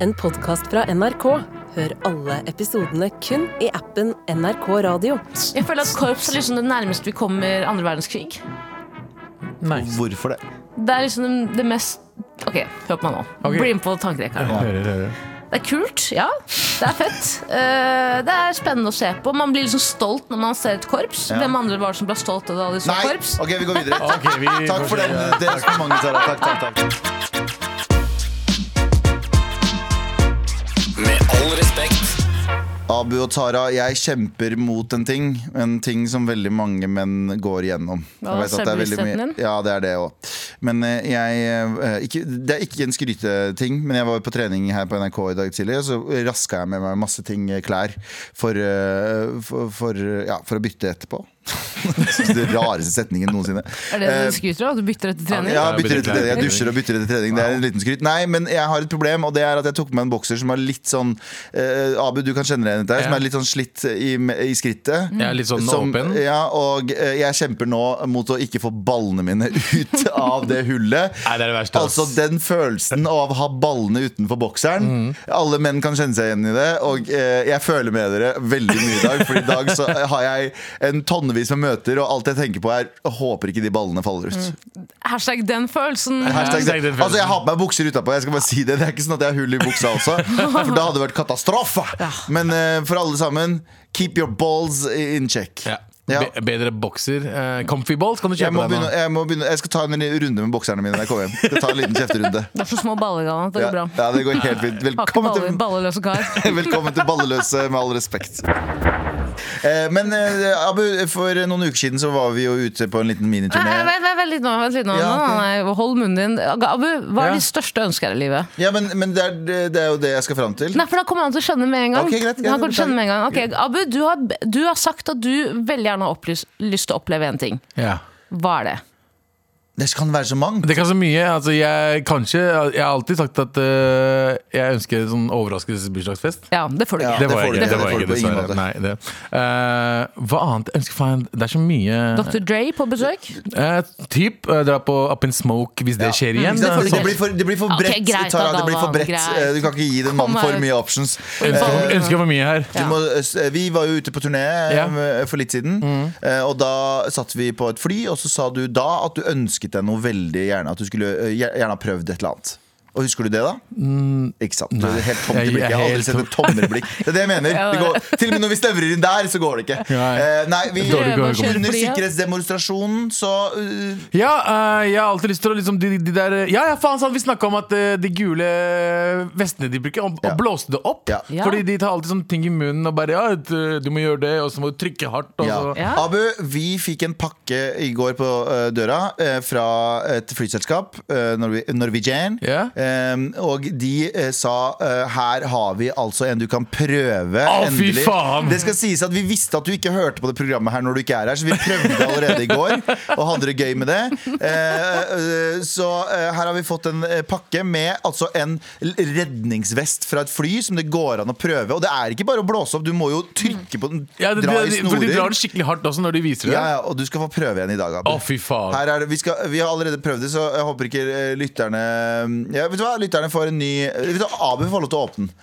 en podkast fra NRK. Hør alle episodene kun i appen NRK Radio. Jeg føler at korps er liksom det nærmeste vi kommer andre verdenskrig. Nice. Hvorfor det? Det er liksom det- det mest Ok, hør på meg nå. Ok. Bli med på tankerekka. her nå. Hører, hører. Det er kult, ja. Det er fett. Eh, det er spennende å se på. Man blir liksom stolt når man ser et korps. Ja. Hvem andre var det som ble stolt av det da de så Nei! korps? Ok, vi går videre. Ok, vi Takk for den, det resonnementet, Sara. Takk, takk, takk. Med all respekt. Abu og Tara, jeg kjemper mot en ting. En ting som veldig mange menn går igjennom. Hva, Jeg vet at det er veldig mye- selvbevisstheten din? Ja, det er det òg. Men eh, jeg eh, ikke, Det er ikke en skryteting, men jeg var på trening her på NRK i dag tidlig, og så raska jeg med meg masse ting, eh, klær, for, eh, for, for, eh, ja, for å bytte etterpå. Jeg synes det er den rareste setningen noensinne. Er det det Eh, du skryter av? At du bytter etter trening? Ja, Ja, bytter bytter ut til trening. Jeg klær. dusjer og bytter ut til trening. Det er en liten skryt. Nei, men jeg har et problem, og det er at jeg tok med en bokser som er litt sånn eh, Abu, du kan kjenne deg igjen i dette, her, som Ja. er litt sånn slitt i, i skrittet. Jeg er litt sånn Som- åpen. Ja, og eh, jeg kjemper nå mot å ikke få ballene mine ut av det hullet. Nei, det er det verste. ass. Altså den følelsen av å ha ballene utenfor bokseren. Mm. Alle menn kan kjenne seg igjen i det. Og eh, jeg føler med dere veldig mye i dag. For i dag så har jeg en tonnevis med møter, og alt jeg tenker på, er jeg håper ikke de ballene faller ut. Hashtag den følelsen. Hashtag Hashtag det. den følelsen. Altså Jeg har på meg bukser utapå. Jeg skal bare si Det Det er ikke sånn at jeg har hull i buksa også. For da hadde det vært katastrofe. Men eh, for alle sammen, keep your balls in check. Ja. Ja. Be bedre bokser. Eh, comfy balls kan du Jeg, kjøpe må deg begynne, nå. jeg, må begynne, jeg skal ta en runde med bokserne mine når jeg kommer hjem. Jeg tar en liten kjefterunde Det er så små baller, Galvan. at Det ja, går bra. ja, det går helt fint. Har ikke Velkommen baller, til, balleløse kar. velkommen til Balleløse, med all respekt. Eh, Men eh, Abu, for noen uker siden så var vi jo ute på en liten Nei, nei, miniturné. Vent vent- vent litt nå. Vent litt nå. Ja, Nei, ok. nei, nei, Hold munnen din. Abu, hva Ja. er ditt største ønske her i livet? Ja, men, men det, er, det er jo det jeg skal fram til. Nei, for da kommer han til å skjønne med en gang. Ok, greit, greit, han kommer til å skjønne med en gang. beklager. Ok, Abu, du har, du har sagt at du veldig gjerne har opplyst, lyst til å oppleve en ting. Ja. Hva er det? Det kan være så mange. Det kan så mye. Altså, jeg, kanskje, jeg har alltid sagt at eh, jeg ønsker en sånn overraskelsesbursdagsfest. Ja, det får du Ja, ikke. Det var får jeg du ikke, ikke. det var jeg Det får ikke, du på ingen dessverre. måte. Nei, det. Eh, hva annet? Jeg ønsker faen, det er så mye Dr. Dre på besøk? Eh, Typ eh, dra på Up in Smoke hvis det skjer igjen. Ikke sant? Sånn- Mm, Det blir for, det blir for Ok, bredt. greit da, Tara, det blir for Galvan, bredt. eh, greit. Du kan ikke gi den mannen Kom for her. mye options. ønsker, Eh, ønsker for mye her. Du Ja. må, eh, vi var jo ute på turné eh, Ja. Mm. for litt siden, eh, og da satt vi på et fly, og så sa du da at du ønsket deg noe veldig gjerne. At du skulle eh, gjer- gjerne ha prøvd et eller annet. Og husker du det, da? Ikke sant? Du er helt tomt Mm, Jeg- jeg i blikket. Jeg har er aldri helt sett et tommere blikk. Det er det jeg mener. Det går, til og med når vi snevrer inn der, så går det ikke. Nei. Eh, nei, vi, Dårlig Prøve å går- kjøre under flyet. sikkerhetsdemonstrasjonen, så eh, Ja, eh, jeg har alltid lyst til å liksom de, de der Ja, ja, faen sant, vi snakka om at eh, de gule eh, vestene de bruker, og, Ja. og blåste det opp. Ja. Ja. Fordi de tar alltid sånne ting i munnen og bare Ja, eh, du, du må gjøre det, og så må du trykke hardt. Og Ja. så. Ja. Abu, vi fikk en pakke i går på eh, døra eh, fra et flyselskap, eh, Norwe- Norwegian. Ja. Eh, og de eh, sa eh, her har vi altså en du kan prøve. Å, fy faen! Det skal sies at Vi visste at du ikke hørte på det programmet her når du ikke er her, så vi prøvde allerede i går og hadde det gøy med det. Eh, eh, så eh, her har vi fått en eh, pakke med altså en redningsvest fra et fly som det går an å prøve. Og det er ikke bare å blåse opp, du må jo trykke på den, Ja, de, dra de, i de, for de snorer. drar det skikkelig hardt også når de viser det. Ja, ja, og du skal få prøve igjen i dag, Abu. Å, fy faen. Her er det, vi, skal, vi har allerede prøvd det, så jeg håper ikke eh, lytterne ja, Vet du hva, lytterne får en ny eh, vet du, hva, Abu får lov til å åpne den.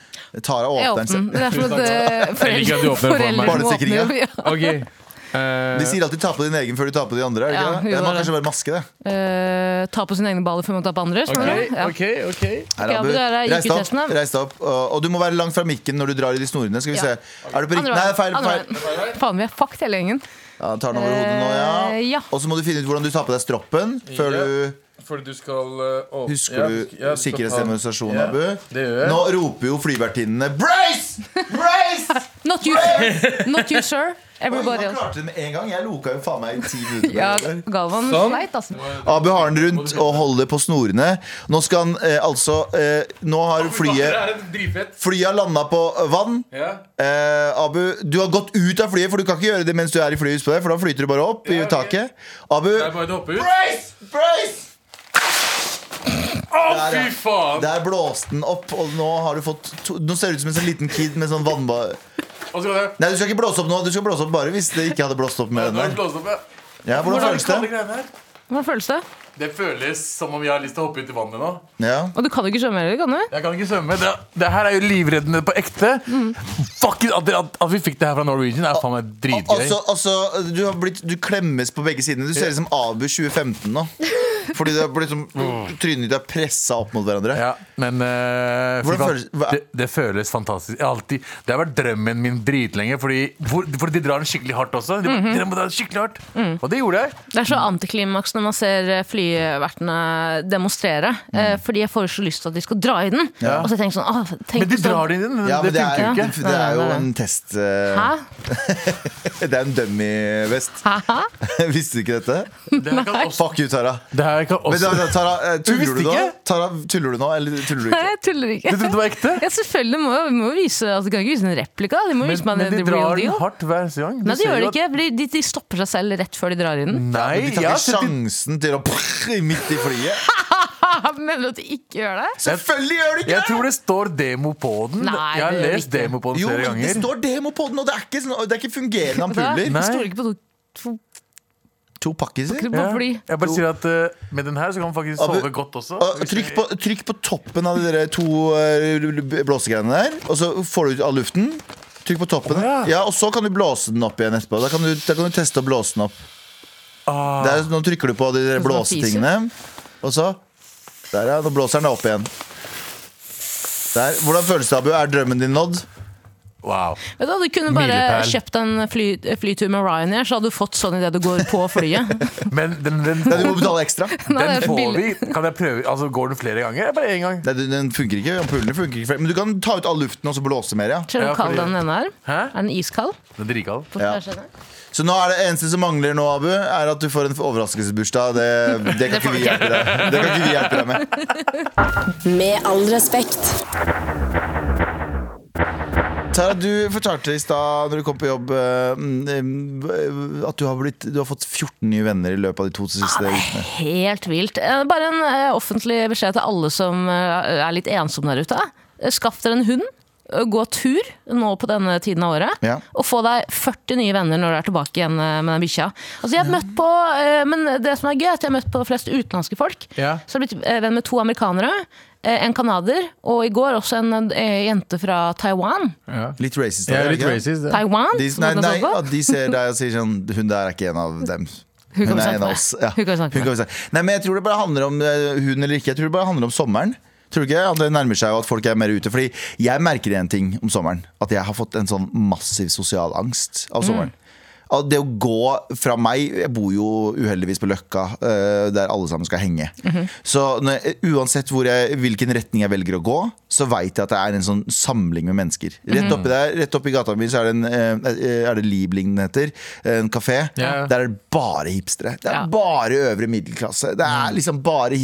Tara Jeg åpner den. åpner. selv. Det er som at eh, Jeg liker at du foreldre, åpner for meg. foreldre må åpne. Barnesikringen, Ja. Ok Eh, De sier alltid ta på din egen før du tar på de andre. Er det Ja, ikke jo, det? Man det. kanskje bare maske det. Eh, ta på sine egne baller før man tar på andres. ok, mener du? Ja. ok, ok Her, Ok, Abu, der er Reis deg opp. IQ-testene. Reis deg opp. Og, og du må være langt fra mikken når du drar i de snorene. Skal vi Ja. se. Er du på riktig Andre Nei, veien. feil. Andre feil. veien. Faen, vi er fucked hele gjengen. Ja, tar den over hodet nå, Eh, ja. ja. Og så må du finne ut hvordan du tar på deg stroppen før Ja. du Fordi du skal eh, åpne Husker Ja, du du- ja, du skal sikkerhetsdemonstrasjonen, ta- Abu? Ja, det gjør jeg. Nå roper jo flyvertinnene 'Brace! Brace!' Not you, not you sir. Everybody Oi, man else. klarte det med en gang. Jeg loka jo faen meg i ti minutter. Ja, der. Galvan Sånn. sleit, altså. Abu har den rundt og holder på snorene. Nå skal han eh, altså eh, Nå har flyet er dritfett. Flyet har landa på eh, vann. Ja. Eh, Abu, du har gått ut av flyet, for du kan ikke gjøre det mens du er i flyet. husk på det, For da flyter du bare opp i Ja, ok. taket. Abu Det er bare å hoppe ut. Brace! Brace! Å, Der, ja. fy faen! Der blåste den opp, og nå har du fått to Nå ser du ut som en sånn liten kid med sånn vannba... Og så kan jeg Nei, du skal ikke blåse opp nå. Du skal blåse opp bare hvis det ikke hadde blåst opp med Nå er den det der. blåst opp, ja. Ja, hvordan føles det? greiene her? Hvordan føles det? Det føles som om jeg har lyst til å hoppe ut i vannet nå. Ja. Og du kan jo ikke svømme heller, kan du? Jeg kan ikke svømme. Det, det her er jo livreddende på ekte. Fuck it, at, det- at, at vi fikk det her fra Norwegian, er faen meg Al- dritgøy. Altså, altså du, har blitt, du klemmes på begge sidene. Du ser ut som Abu 2015 nå. Fordi du har blitt som, trynet ditt er pressa opp mot hverandre. Ja, men eh, fy Hvordan faen, føles- hva- det, det føles fantastisk. Jeg har alltid, det har vært drømmen min dritlenge, fordi, hvor, fordi de drar den skikkelig hardt også. De, bare, dere må dra den skikkelig hardt Mm. Og det gjorde jeg. Det er så antiklimaks når man ser eh, flyvertene demonstrere. Mm. eh, Fordi jeg får så lyst til at de skal dra i den. Og så tenker jeg sånn, åh, tenk Men de hvis drar den inn. Ja, men det det, er, funker jo det, ikke. det er jo Nei, nei, nei. en test eh, Hæ? Det er en dummy-vest. Hæ? Visste du ikke dette? Det her kan også, Fuck you, Tara. det her kan Men, da- også da, Tara, eh, visste tuller du nå? ikke? Tara, tuller du nå, eller tuller du Nei, ikke? jeg tuller ikke. Du trodde det var ekte? Ja, selvfølgelig må jo- vi må jo vise at de kan ikke vise en replika. De må Men, vise meg men the, de the real drar deal. den hardt hver gang. Du Nei, de ser gjør jo Mm. det at- ikke. fordi De, de stopper seg selv rett før de drar i den. Nei, Men de jeg tar ikke har sett de- sjansen til å midt i flyet. Ah, mener du at de ikke gjør det? Selvfølgelig gjør de ikke Jeg det! tror det står demo på den. Nei, jeg har det gjør det lest ikke. demo på den Jo, flere men det ganger. står demo på den, og det er ikke, sånn, det er ikke fungerende ampuller. Nei. Jeg stoler ikke på to, to, To pakkiser. to på Ja. fly. Jeg bare sier at eh, med den her så kan man faktisk Abu- sove godt også. Og Trykk på, trykk på toppen av de der to eh, blåsegreiene der, og så får du ut all luften. Trykk på toppen. Å, ja. Ja, Og så kan du blåse den opp igjen etterpå. Da kan du, da kan du teste å blåse den opp. Ah. Der, nå trykker du på de der Sånn som blåsetingene, og så Der, ja. Nå blåser den deg opp igjen. Der. Hvordan føles det, Abu? Er drømmen din nådd? Wow. Vet du, hva, du kunne bare Milepæl. kjøpt en fly, eh, flytur med Ryanair, så hadde du fått sånn idet du går på flyet. Men den, den, Nei, du den, må betale ekstra. Nei, det er får billig. vi. Kan jeg prøve? Altså, går den flere ganger? Eller bare én gang? Nei, du- den funker ikke. Ampullene funker ikke. Men du kan ta ut all luften og så blåse mer, ja. Ser du Ja, hvor kald fordi- den ene er? Hæ? Er den iskald? Den er dritkald. På Ja. tvers av den? Så nå er det eneste som mangler nå, Abu, er at du får en overraskelsesbursdag. Det, det, kan ikke vi hjelpe deg. det kan ikke vi hjelpe deg med. Med all respekt. Tara, du fortalte i stad når du kom på jobb, eh, mm, eh, at du har, blitt, du har fått 14 nye venner i løpet av de to siste ukene. Helt vilt. Eh, Bare en eh, offentlig beskjed til alle som eh, er litt ensomme der ute. Eh, Skaff dere en hund. eh, Gå tur nå på denne tiden av året, Ja. og få deg 40 nye venner når du er tilbake igjen eh, med den bikkja. Altså, jeg har møtt på, eh, men det som er gøy, er at jeg har møtt på flest utenlandske folk. Ja. Så jeg har blitt eh, venn med to amerikanere, eh, en canadier, og i går også en eh, jente fra Taiwan. Litt racist. av deg, ikke? Taiwan? De, som nei, den nei, så på. at de ser deg og sier sånn Hun der er ikke en av dem. Hun kan vi er snakke en av med. oss. Ja. Hun kan vi snakke med. vi snakke. Nei, men jeg tror det bare handler om eh, hun eller ikke. Jeg tror det bare handler om sommeren. Tror du ikke at det nærmer seg og at folk er mer ute? Fordi jeg merker en ting om sommeren. At jeg har fått en sånn massiv sosial angst av sommeren. At Det å gå fra meg Jeg bor jo uheldigvis på Løkka, eh, der alle sammen skal henge. Så når jeg, uansett hvor jeg, hvilken retning jeg velger å gå, så veit jeg at det er en sånn samling med mennesker. Rett oppi der, rett oppi gata mi så er det, en, eh, er det Liebling den heter. En kafé. Ja. Der er det bare hipstere. Det er Ja. bare øvre middelklasse. Det er liksom bare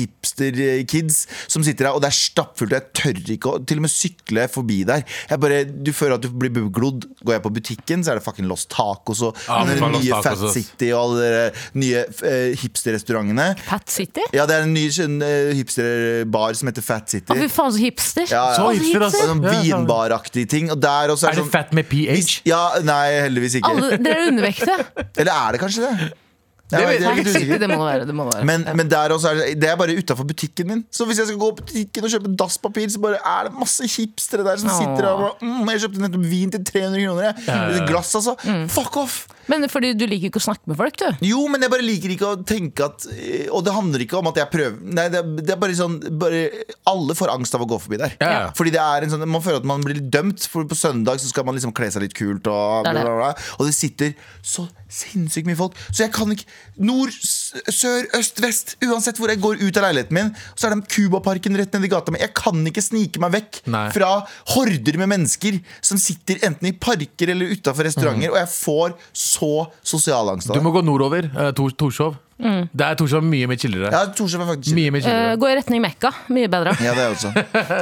hipster-kids som sitter der, og det er stappfullt. Jeg tør ikke å til og med sykle forbi der. Jeg bare, du føler at du blir beglodd. Går jeg på butikken, så er det fucking Los Tacos og Ja, den faen, Los nye Tacos, Fat ass. City og alle de der nye eh, hipsterrestaurantene. Pat City? Ja, det er en ny sånn, eh, hipsterbar som heter Fat City. Å, Ah, fy faen, så hipster. Ja, ja. Så Og hipster, altså. sånn vinbaraktige ting. Og der også Er er det sånn fett med pH? Ja, nei, heldigvis ikke. Alle, dere er undervektige. Eller er det kanskje det? Jeg vet- jeg er Nei, litt usikker. Det må det være. Det må det være. Men, men der også er det, det er bare utafor butikken min. Så hvis jeg skal gå på butikken og kjøpe dasspapir, så bare er det masse hipstere der som Åh. sitter der og bare mm, 'Jeg kjøpte nettopp vin til 300 kroner, jeg. Et Glass, altså. Fuck off! Men fordi du liker ikke å snakke med folk, du. Jo, men jeg bare liker ikke å tenke at eh, Og det handler ikke om at jeg prøver Nei, det, er- det er bare sånn bare, Alle får angst av å gå forbi der. Ja, ja. Fordi det er en sånn Man føler at man blir dømt, for på søndag så skal man liksom kle seg litt kult. Og, Det er det. bla, bla, bla. og det sitter så sinnssykt mye folk. Så jeg kan ikke Nord, s- sør, øst, vest. Uansett hvor jeg går ut av leiligheten min, så er det Cubaparken rett nedi gata mi. Jeg kan ikke snike meg vekk Nei. fra horder med mennesker som sitter enten i parker eller utafor restauranter, og jeg får så sosialangst av Mm. Du det. må gå nordover. eh, Tor Torshov. Det er Torshov mye mer chillere. Ja, Torshov er faktisk Mye mer Mm. Eh, chillere. gå i retning Mekka. Mye bedre. Ja, det er jeg også.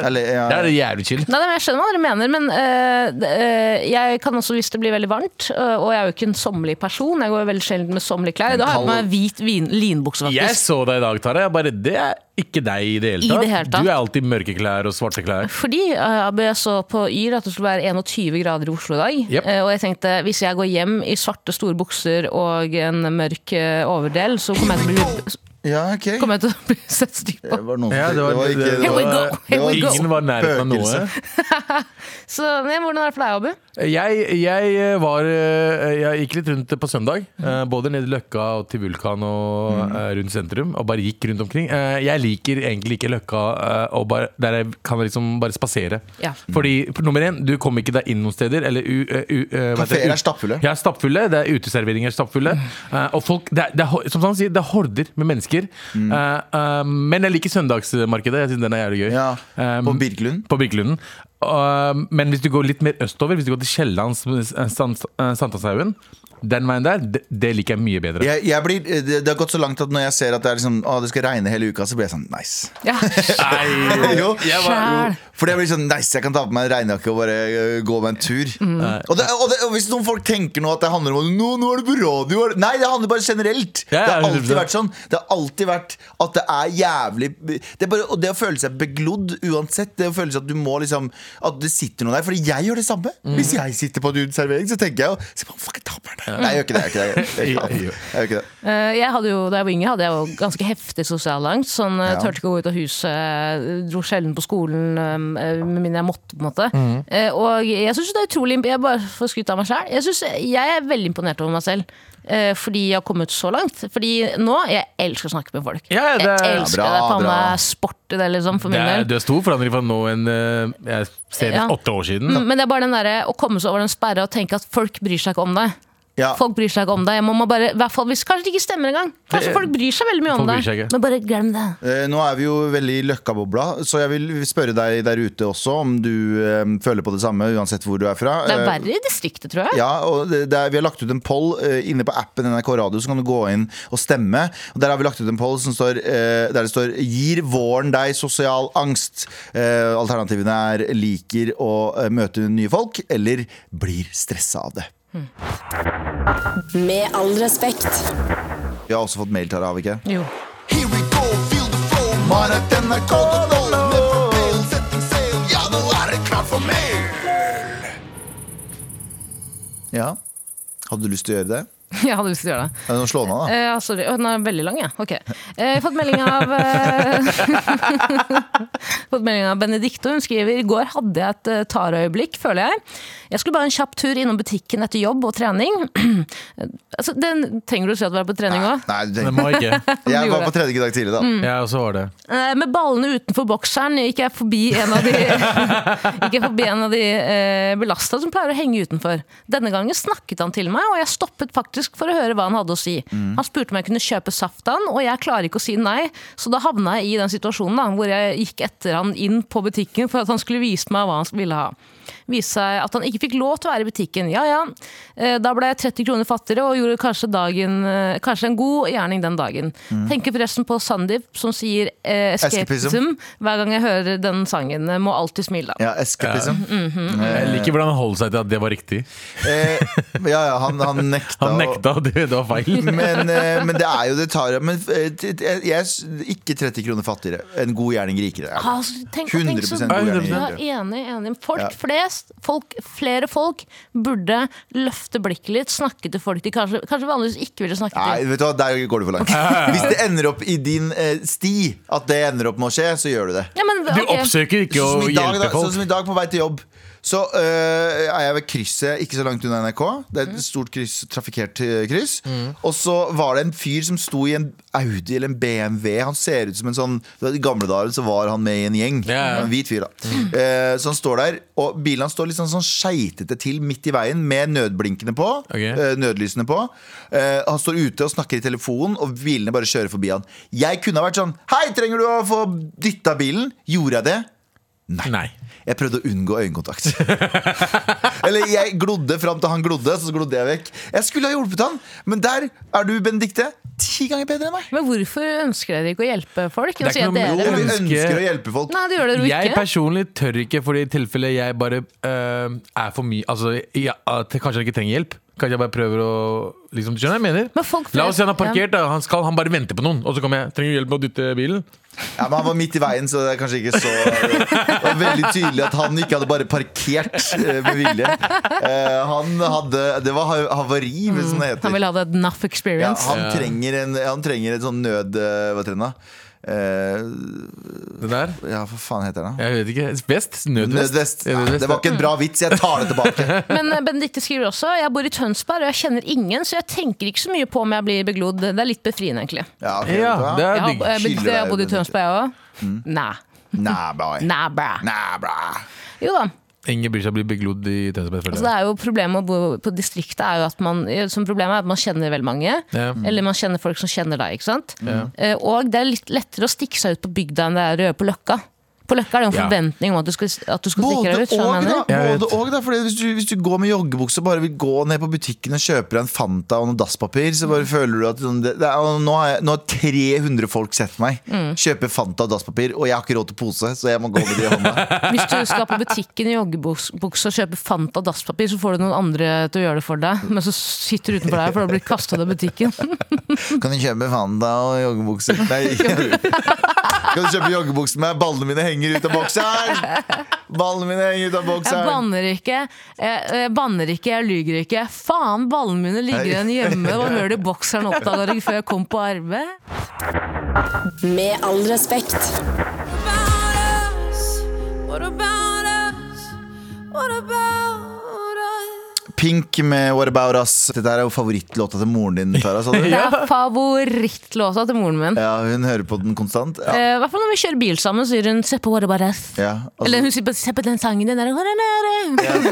Eller, ja. Det er jævlig chill. Nei, nei, men Jeg skjønner hva dere mener, men eh, det- eh, jeg kan også hvis det blir veldig varmt. eh, og jeg er jo ikke en sommerlig person. Jeg går jo veldig sjelden med sommerlige klær. Da har jeg på meg hvit vin, linbukse, faktisk. Jeg så deg i dag, Tara. Jeg bare, det er ikke deg i det hele I tatt. det hele tatt. Du er alltid i mørke klær og svarte klær. Fordi eh, Abu, jeg så på Yr at det skulle være 21 grader i Oslo i dag. Jep. Eh, og jeg tenkte hvis jeg går hjem i svarte, store bukser og en mørk eh, overdel, så kommer jeg til å bli Ja, ok. Kommer jeg til å bli sett stygt Det på. var noen Ja, som- det var- det var ikke- det det Here we var- go, here we go. Ingen var i nærheten av noe. Spøkelse. Så men hvordan er det for deg, Abu? Jeg, jeg eh, var eh, Jeg gikk litt rundt på søndag. eh, Både ned i Løkka og til Vulkan og eh, rundt sentrum. Og bare gikk rundt omkring. Eh, Jeg liker egentlig ikke Løkka, eh, og bare, der jeg kan liksom bare spasere. Ja. Fordi for nummer én, du kommer ikke deg inn noen steder. Eller u, eh, u, eh, hva heter det? Kaféer er stappfulle. Ja, stappfulle. Det er uteserveringer stappfulle. Eh, og folk, det er, det er, ho- som han sier, det er horder med mennesker. Mm. Eh, eh, men jeg liker søndagsmarkedet. Jeg synes den er jævlig gøy. Ja, Eh, på Birkelund. på Birkelunden. Uh, men hvis du går litt mer østover, hvis du går til Kiellands Sankthanshaugen, eh, den veien der, det, det liker jeg mye bedre. Jeg, jeg blir, det, det har gått så langt at når jeg ser at det, er liksom, å, det skal regne hele uka, så blir jeg sånn nice. Ja. jo, var- jo. Fordi jeg blir sånn nice, jeg kan ta på meg en regnjakke og bare øh, gå meg en tur. Og, det, og, det, og hvis noen folk tenker nå at det handler om nå, nå er det på radio er det-" Nei, det handler bare generelt. Ja, ja, det har alltid 100%. vært sånn. Det har alltid vært at det er jævlig det er bare, Og det å føle seg beglodd uansett, det å føle seg at du må liksom At det sitter noen der. Fordi jeg gjør det samme. Mm. Hvis jeg sitter på en uteservering, så tenker jeg jo "Se på, Fuck, jeg tar på meg den." Nei, jeg gjør ikke det. Jeg gjør ikke det. Jeg gjør ikke det. Jeg gjør ikke det. Eh, Jeg hadde jo, da jeg var yngre, hadde jeg jo ganske heftig sosialangst. Sånn, eh, Ja. Tørte ikke å gå ut av huset, eh, dro sjelden på skolen eh, med mindre jeg måtte. på en måte Eh, Og jeg synes det er utrolig imp- Jeg bare får skryte av meg selv Jeg, synes, jeg er veldig imponert over meg selv. eh, Fordi jeg har kommet så langt. Fordi nå jeg elsker å snakke med folk. Ja, ja, det jeg er- elsker Ja, det. bra, Faen bra. meg sport i det, liksom, for Det min er, del. det er stor forandring fra nå enn eh, jeg ser Ja. åtte år siden. Mm, Men det er bare den derre å komme seg over den sperra og tenke at folk bryr seg ikke om deg. Ja. Folk bryr seg ikke om deg. Jeg må må bare, i hvert fall hvis Kanskje det ikke stemmer engang. Kanskje folk bryr seg veldig mye om Folk deg. bryr seg ikke. Men bare glem det. Eh, Nå er vi jo veldig i løkkabobla, så jeg vil spørre deg der ute også om du eh, føler på det samme, uansett hvor du er fra. Det er Eh, verre i distriktet, tror jeg. Ja, og det, det er, Vi har lagt ut en poll eh, inne på appen NRK Radio, så kan du gå inn og stemme. Og Der har vi lagt ut en poll som står, eh, der det står 'Gir våren deg sosial angst?' Eh, alternativene er 'liker å eh, møte nye folk' eller 'blir stressa av det'. Med all respekt. Vi har også fått mail, Tara, har vi ikke? Jo. Here we go, feel the flow Marit NRK, det nå Med propell, setting sail Ja, nå er det klart for mail Ja Hadde du lyst til å gjøre det? Jeg hadde lyst til å gjøre det. Ja, nå slå meg da Eh, sorry. Å, den er veldig lang, jeg. Ok. Eh, jeg har fått melding av eh, Fått melding av Benedicte. Hun skriver i går hadde jeg et eh, Tara-øyeblikk, føler jeg. Jeg skulle bare en kjapp tur innom butikken etter jobb og trening. altså, den trenger du å si at du er på trening òg. Nei, du Det tenkte må jeg ikke. Jeg gjorde var på tredje dag tidlig da Jeg også var det. Eh, Med ballene utenfor bokseren gikk jeg forbi en av de, gikk jeg forbi en av de eh, belasta som pleier å henge utenfor. Denne gangen snakket han til meg, og jeg stoppet faktisk for å høre hva han hadde å si. Han spurte om jeg kunne kjøpe saft av han, og jeg klarer ikke å si nei, så da havna jeg i den situasjonen da, hvor jeg gikk etter han inn på butikken for at han skulle vise meg hva han ville ha. Viste seg at han ikke fikk lov til å være i butikken. Ja ja, eh, da ble jeg 30 kroner fattigere og gjorde kanskje, dagen, eh, kanskje en god gjerning den dagen. Tenker forresten på Sandeep som sier eh, Escapism. escapism hver gang jeg hører den sangen. eh, Må alltid smile. Ja, liksom. escapism Jeg liker hvordan han holder seg til at det var riktig. eh, Ja, ja, han, han nekta Han å- nekta, og det, det var feil. Mm. men, eh, men det er jo det tar Men eh, t- t- jeg, jeg- ikke 30 kroner fattigere En god gjerning rikere Ja. Altså, tenk, tenk så, 100% god gjerning ja, rikere enig, enig. Folk Ja. flest, folk, flere folk, burde løfte blikket litt, snakke til folk de kanskje, kanskje vanligvis ikke ville snakke Nei, til. vet du hva, der går det for langt. Hvis det ender opp i din eh, sti, at det ender opp med å skje, så gjør du det. Ja, men, Du ok. oppsøker ikke Sånn å som, i dag, da, hjelpe sånn folk. som i dag, på vei til jobb. Så eh, er jeg ved krysset ikke så langt unna NRK. Det Mm. er et stort kryss, trafikkert eh, kryss. Og så var det en fyr som sto i en Audi eller en BMW. Han ser ut som en sånn du vet, I gamle dager så var han med i en gjeng. Ja, Mm. ja. En hvit fyr, da. Eh, så han står der, og bilen hans står litt sånn, sånn skeitete til midt i veien med nødblinkene på. Ok. eh, nødlysene på. Eh, han står ute og snakker i telefonen, og bilene bare kjører forbi han. Jeg kunne ha vært sånn Hei, trenger du å få dytta bilen? Gjorde jeg det? Nei. Jeg prøvde å unngå øyekontakt. Eller jeg glodde fram til han glodde, så glodde jeg vekk. Jeg skulle ha hjulpet han, men der er du, Benedicte, ti ganger bedre enn meg. men hvorfor ønsker dere ikke å hjelpe folk? Nå Det er sier ikke jeg noe- Og dere, jo, vi men- ønsker- ønsker å hjelpe folk. Nei, det gjør dere jo Jeg ikke. personlig eh, tør ikke, fordi i tilfelle jeg bare øh, er for mye Altså, jeg, at jeg kanskje ikke trenger hjelp. Kanskje jeg bare prøver å liksom, Du skjønner hva jeg mener? Men folk La oss si han har flest- parkert, da. Han, skal, han bare venter på noen. Og så kommer jeg. Trenger du hjelp med å dytte bilen? Ja, men Han var midt i veien, så det er kanskje ikke så Det var veldig tydelig at han ikke hadde bare parkert eh, med vilje. Eh, Han hadde Det var ha- havari, hvis sånn det heter. Mm. Han vil ha det enough Ja, experience. han, trenger en, han trenger en sånn nød... eh, Hva heter den, da? Eh, Det der? ja, hva faen heter den, da? Jeg vet ikke. Vest? Nødvest? Nødvest. Ja, det var ikke en bra vits. Jeg tar det tilbake. Men eh, Benedicte skriver også Jeg bor i Tønsberg og jeg kjenner ingen, så jeg tenker ikke så mye på om jeg blir beglodd. Det er litt befriende, egentlig. Ja, ok, Ja, vet du hva? det Jeg er har, eh, digg. Skille Benedicte, jeg har deg, bodd i Benedicte. Tønsberg, jeg òg. Nei. Nah, boy. Nei, bra. Nah, bra. Jo da. Ingen bryr seg å bli beglodd i Tønsberg. Altså, det er jo Problemet med å bo på distriktet er jo at man eh, som problemet er at man kjenner veldig mange. Ja. Eller man kjenner folk som kjenner deg. ikke sant? Eh, Og det er litt lettere å stikke seg ut på bygda enn det er å gjøre på Løkka. På Løkka er det en Ja. forventning om at du skal, at du skal stikke Både deg ut. skjønner du hva jeg og, da. mener? Jeg Både og da fordi hvis, du, hvis du går med joggebukse og bare vil gå ned på butikken og kjøpe deg en Fanta og noe dasspapir, så bare føler du at sånn, det, det er, og nå, har jeg, nå har 300 folk sett meg Mm. kjøpe Fanta og dasspapir, og jeg har ikke råd til pose, så jeg må gå med det i hånda. Hvis du skal på butikken i joggebukse og kjøpe Fanta dasspapir, så får du noen andre til å gjøre det for deg, men så sitter du utenfor der for å bli kastet ut av butikken. Kan du kjøpe Fanta og joggebukse? Nei, kan du kjøpe joggebukse med ballene mine henger ut av bokseren? Ballene mine henger ut av Jeg bokseren. banner ikke, jeg, jeg banner ikke, jeg lyger ikke. Faen, ballene mine ligger igjen hjemme. Hva hører du bokseren oppdaga det før jeg kom på arbeid? Med all respekt. about us? What about us? What about us? Pink med What About Us. Dette her er jo favorittlåta til moren din, Tara. sa du? Det er favorittlåta til moren min. Ja, hun hører på den konstant. Ja, Eh, I hvert fall når vi kjører bil sammen, sier hun 'se på What About Us'. ja, altså- Eller hun sier bare 'se på den sangen', den der «What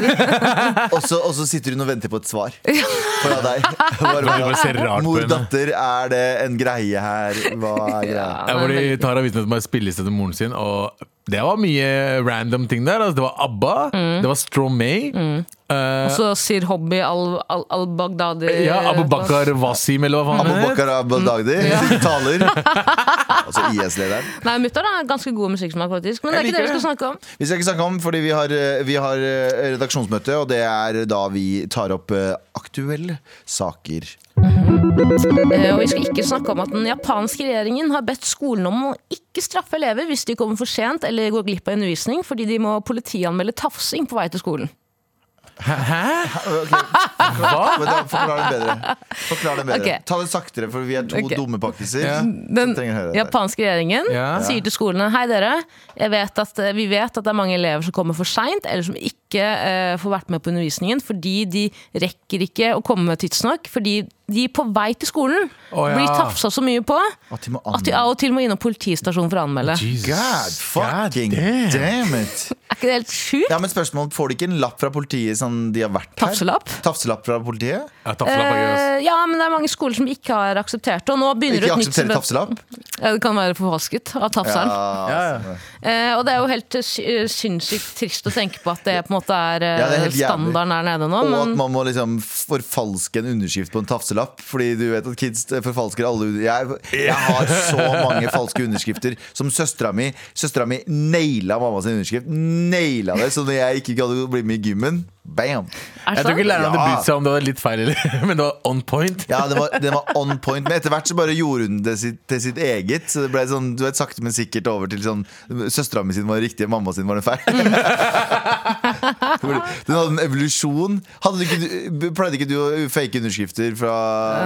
about us?» Og så, og så sitter hun og venter på et svar fra deg. Bare, Du bare ser rart på Mor, henne. datter, er det en greie her? Hva er greia? Ja, fordi Tara viste meg et spilleliste til moren sin, og det var mye random ting der. Altså, det var ABBA, Mm. det var Stromae. eh, Så sier Hobby al-Baghdadi ja, Abu Bakar Wasim, eller hva faen Abu han heter. Bakar Abdagdi taler. Altså IS-lederen. Nei, mutter'n har ganske god musikksmak, faktisk. Men det er Jeg ikke det vi liker skal snakke om. Vi skal ikke snakke om, fordi vi har, eh, vi har eh, redaksjonsmøte, og det er da vi tar opp eh, aktuelle saker. Eh, Og vi skal ikke snakke om at den japanske regjeringen har bedt skolen om å ikke straffe elever hvis de kommer for sent eller går glipp av undervisning fordi de må politianmelde tafsing på vei til skolen. Hva? Men da Forklar den bedre. Forklar den bedre. Ok. Ta det saktere, for vi er to Ok. dumme pakkiser. Ja. Den som trenger å høre dette. japanske regjeringen Ja. sier til skolene Hei dere, jeg vet at, eh, vi vet at det er mange elever som kommer for seint eller som ikke eh, får vært med på undervisningen fordi de rekker ikke å komme tidsnok fordi de på vei til skolen Å, ja. blir tafsa så mye på At de må at de av og til må innom politistasjonen for å anmelde. Jesus. God fucking damn. damn it! Er ikke det helt sjukt? Ja, men spørsmål, Får de ikke en lapp fra politiet sånn de har vært her? Tafselapp? Tafselapp fra politiet? Ja, tafselapp er gøy, ass. Eh, ja, men det er mange skoler som ikke har akseptert det. Og nå begynner det Ikke et nytt akseptere spe- tafselapp? Ja, det kan være forvasket av tafseren. Ja, Ja, ja. altså. Eh, og det er jo helt eh, sy- eh, sinnssykt trist å tenke på at det på en måte er, eh, Ja, det er helt jævlig. standarden her nede nå. Og at Men man må liksom forfalske en underskrift på en tafselapp. Fordi du vet at kids forfalsker alle under- Jeg, jeg har så mange falske underskrifter som søstera mi. Søstera mi naila mamma sin underskrift. Naila det, så når jeg ikke gadd å bli med i gymmen, bam! er Jeg det sant? tror ikke læreren hadde Ja. brydd seg om det var litt feil, eller, men det var on point. Ja, den var, den var on point, men etter hvert så bare gjorde hun det sitt, til sitt eget. Så det ble sånn, du vet, sakte, men sikkert over til sånn Søstera mi sin var riktig, mamma sin var den feil. den hadde en evolusjon. Hadde du ikke, du- pleide ikke du å fake underskrifter fra,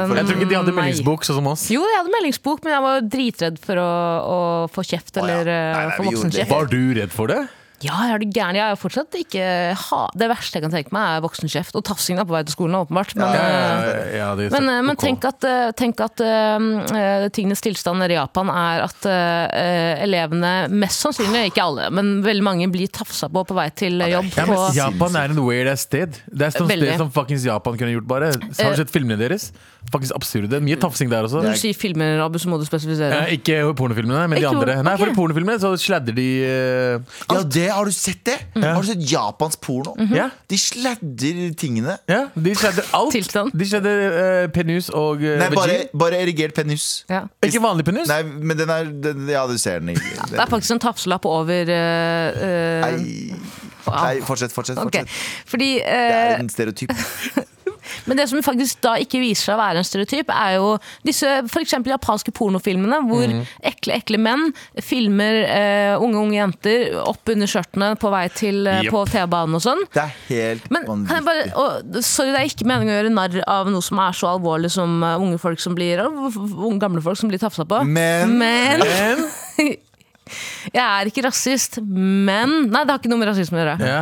fra Jeg tror ikke de hadde Nei. meldingsbok, sånn som oss. Jo, jeg hadde meldingsbok, men jeg var dritredd for å, å få kjeft ja. eller eh, Nei, nei, få vi gjorde det. voksenkjeft. Var du redd for det? Ja, jeg er du gæren. Jeg er jo fortsatt ikke ha Det verste jeg kan tenke meg, er voksenkjeft. Og tafsing er på vei til skolen, åpenbart. Men, eh, ja, det- Men, eh, men ok. tenk at, eh, tenk at eh, eh, tingenes tilstand nede i Japan er at eh, elevene mest sannsynlig, ikke alle, men veldig mange blir tafsa på på vei til eh, jobb. ja, men på, Japan er en weird ass sted. Det er sånn sted Veldig. Eh, som fuckings Japan kunne gjort, bare. Har du sett filmene deres? Faktisk absurde. Mye tafsing der også. når du sier filmer, Abu, så må du spesifisere. Eh, ikke pornofilmene, men de Ikke andre. porno- Nei, for ok. i pornofilmene så sladder de eh, Ja, det, har du sett det? Har du sett japansk porno? Mhm. Ja. De sladder tingene. Ja, de sladder alt. Tilstand. De sladder eh, penus og uh, Nei, bare, bare erigert penis. Ja. Ikke vanlig penus. Nei, men den er den, Ja, du ser den ikke. Det er faktisk en tafselapp over eh, eh, Nei, nei, fortsett, fortsett. ok. fortsett. Fordi Det eh, er en stereotyp. Men det som faktisk da ikke viser seg å være en stereotyp, er jo disse f.eks. japanske pornofilmene hvor ekle, ekle menn filmer eh, unge, unge jenter opp under skjørtene på vei til eh, Jep. på T-banen og sånn. Det er helt Men kan jeg bare, og, sorry, det er ikke meningen å gjøre narr av noe som er så alvorlig som eh, unge folk som blir, og unge, gamle folk som blir tafsa på. Men- men Jeg er ikke rasist, men Nei, det har ikke noe med rasisme å gjøre. Ja.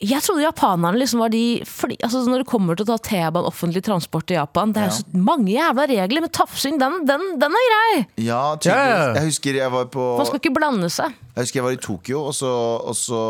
Jeg trodde japanerne liksom var de fordi, altså Når det kommer til å ta T-banen offentlig transport i Japan, det er jo så mange jævla regler, men tafsing, den, den, den er grei! Ja, tydeligvis. Ja, ja. Jeg husker jeg var på Man skal ikke blande seg. Jeg husker jeg var i Tokyo, og så, og så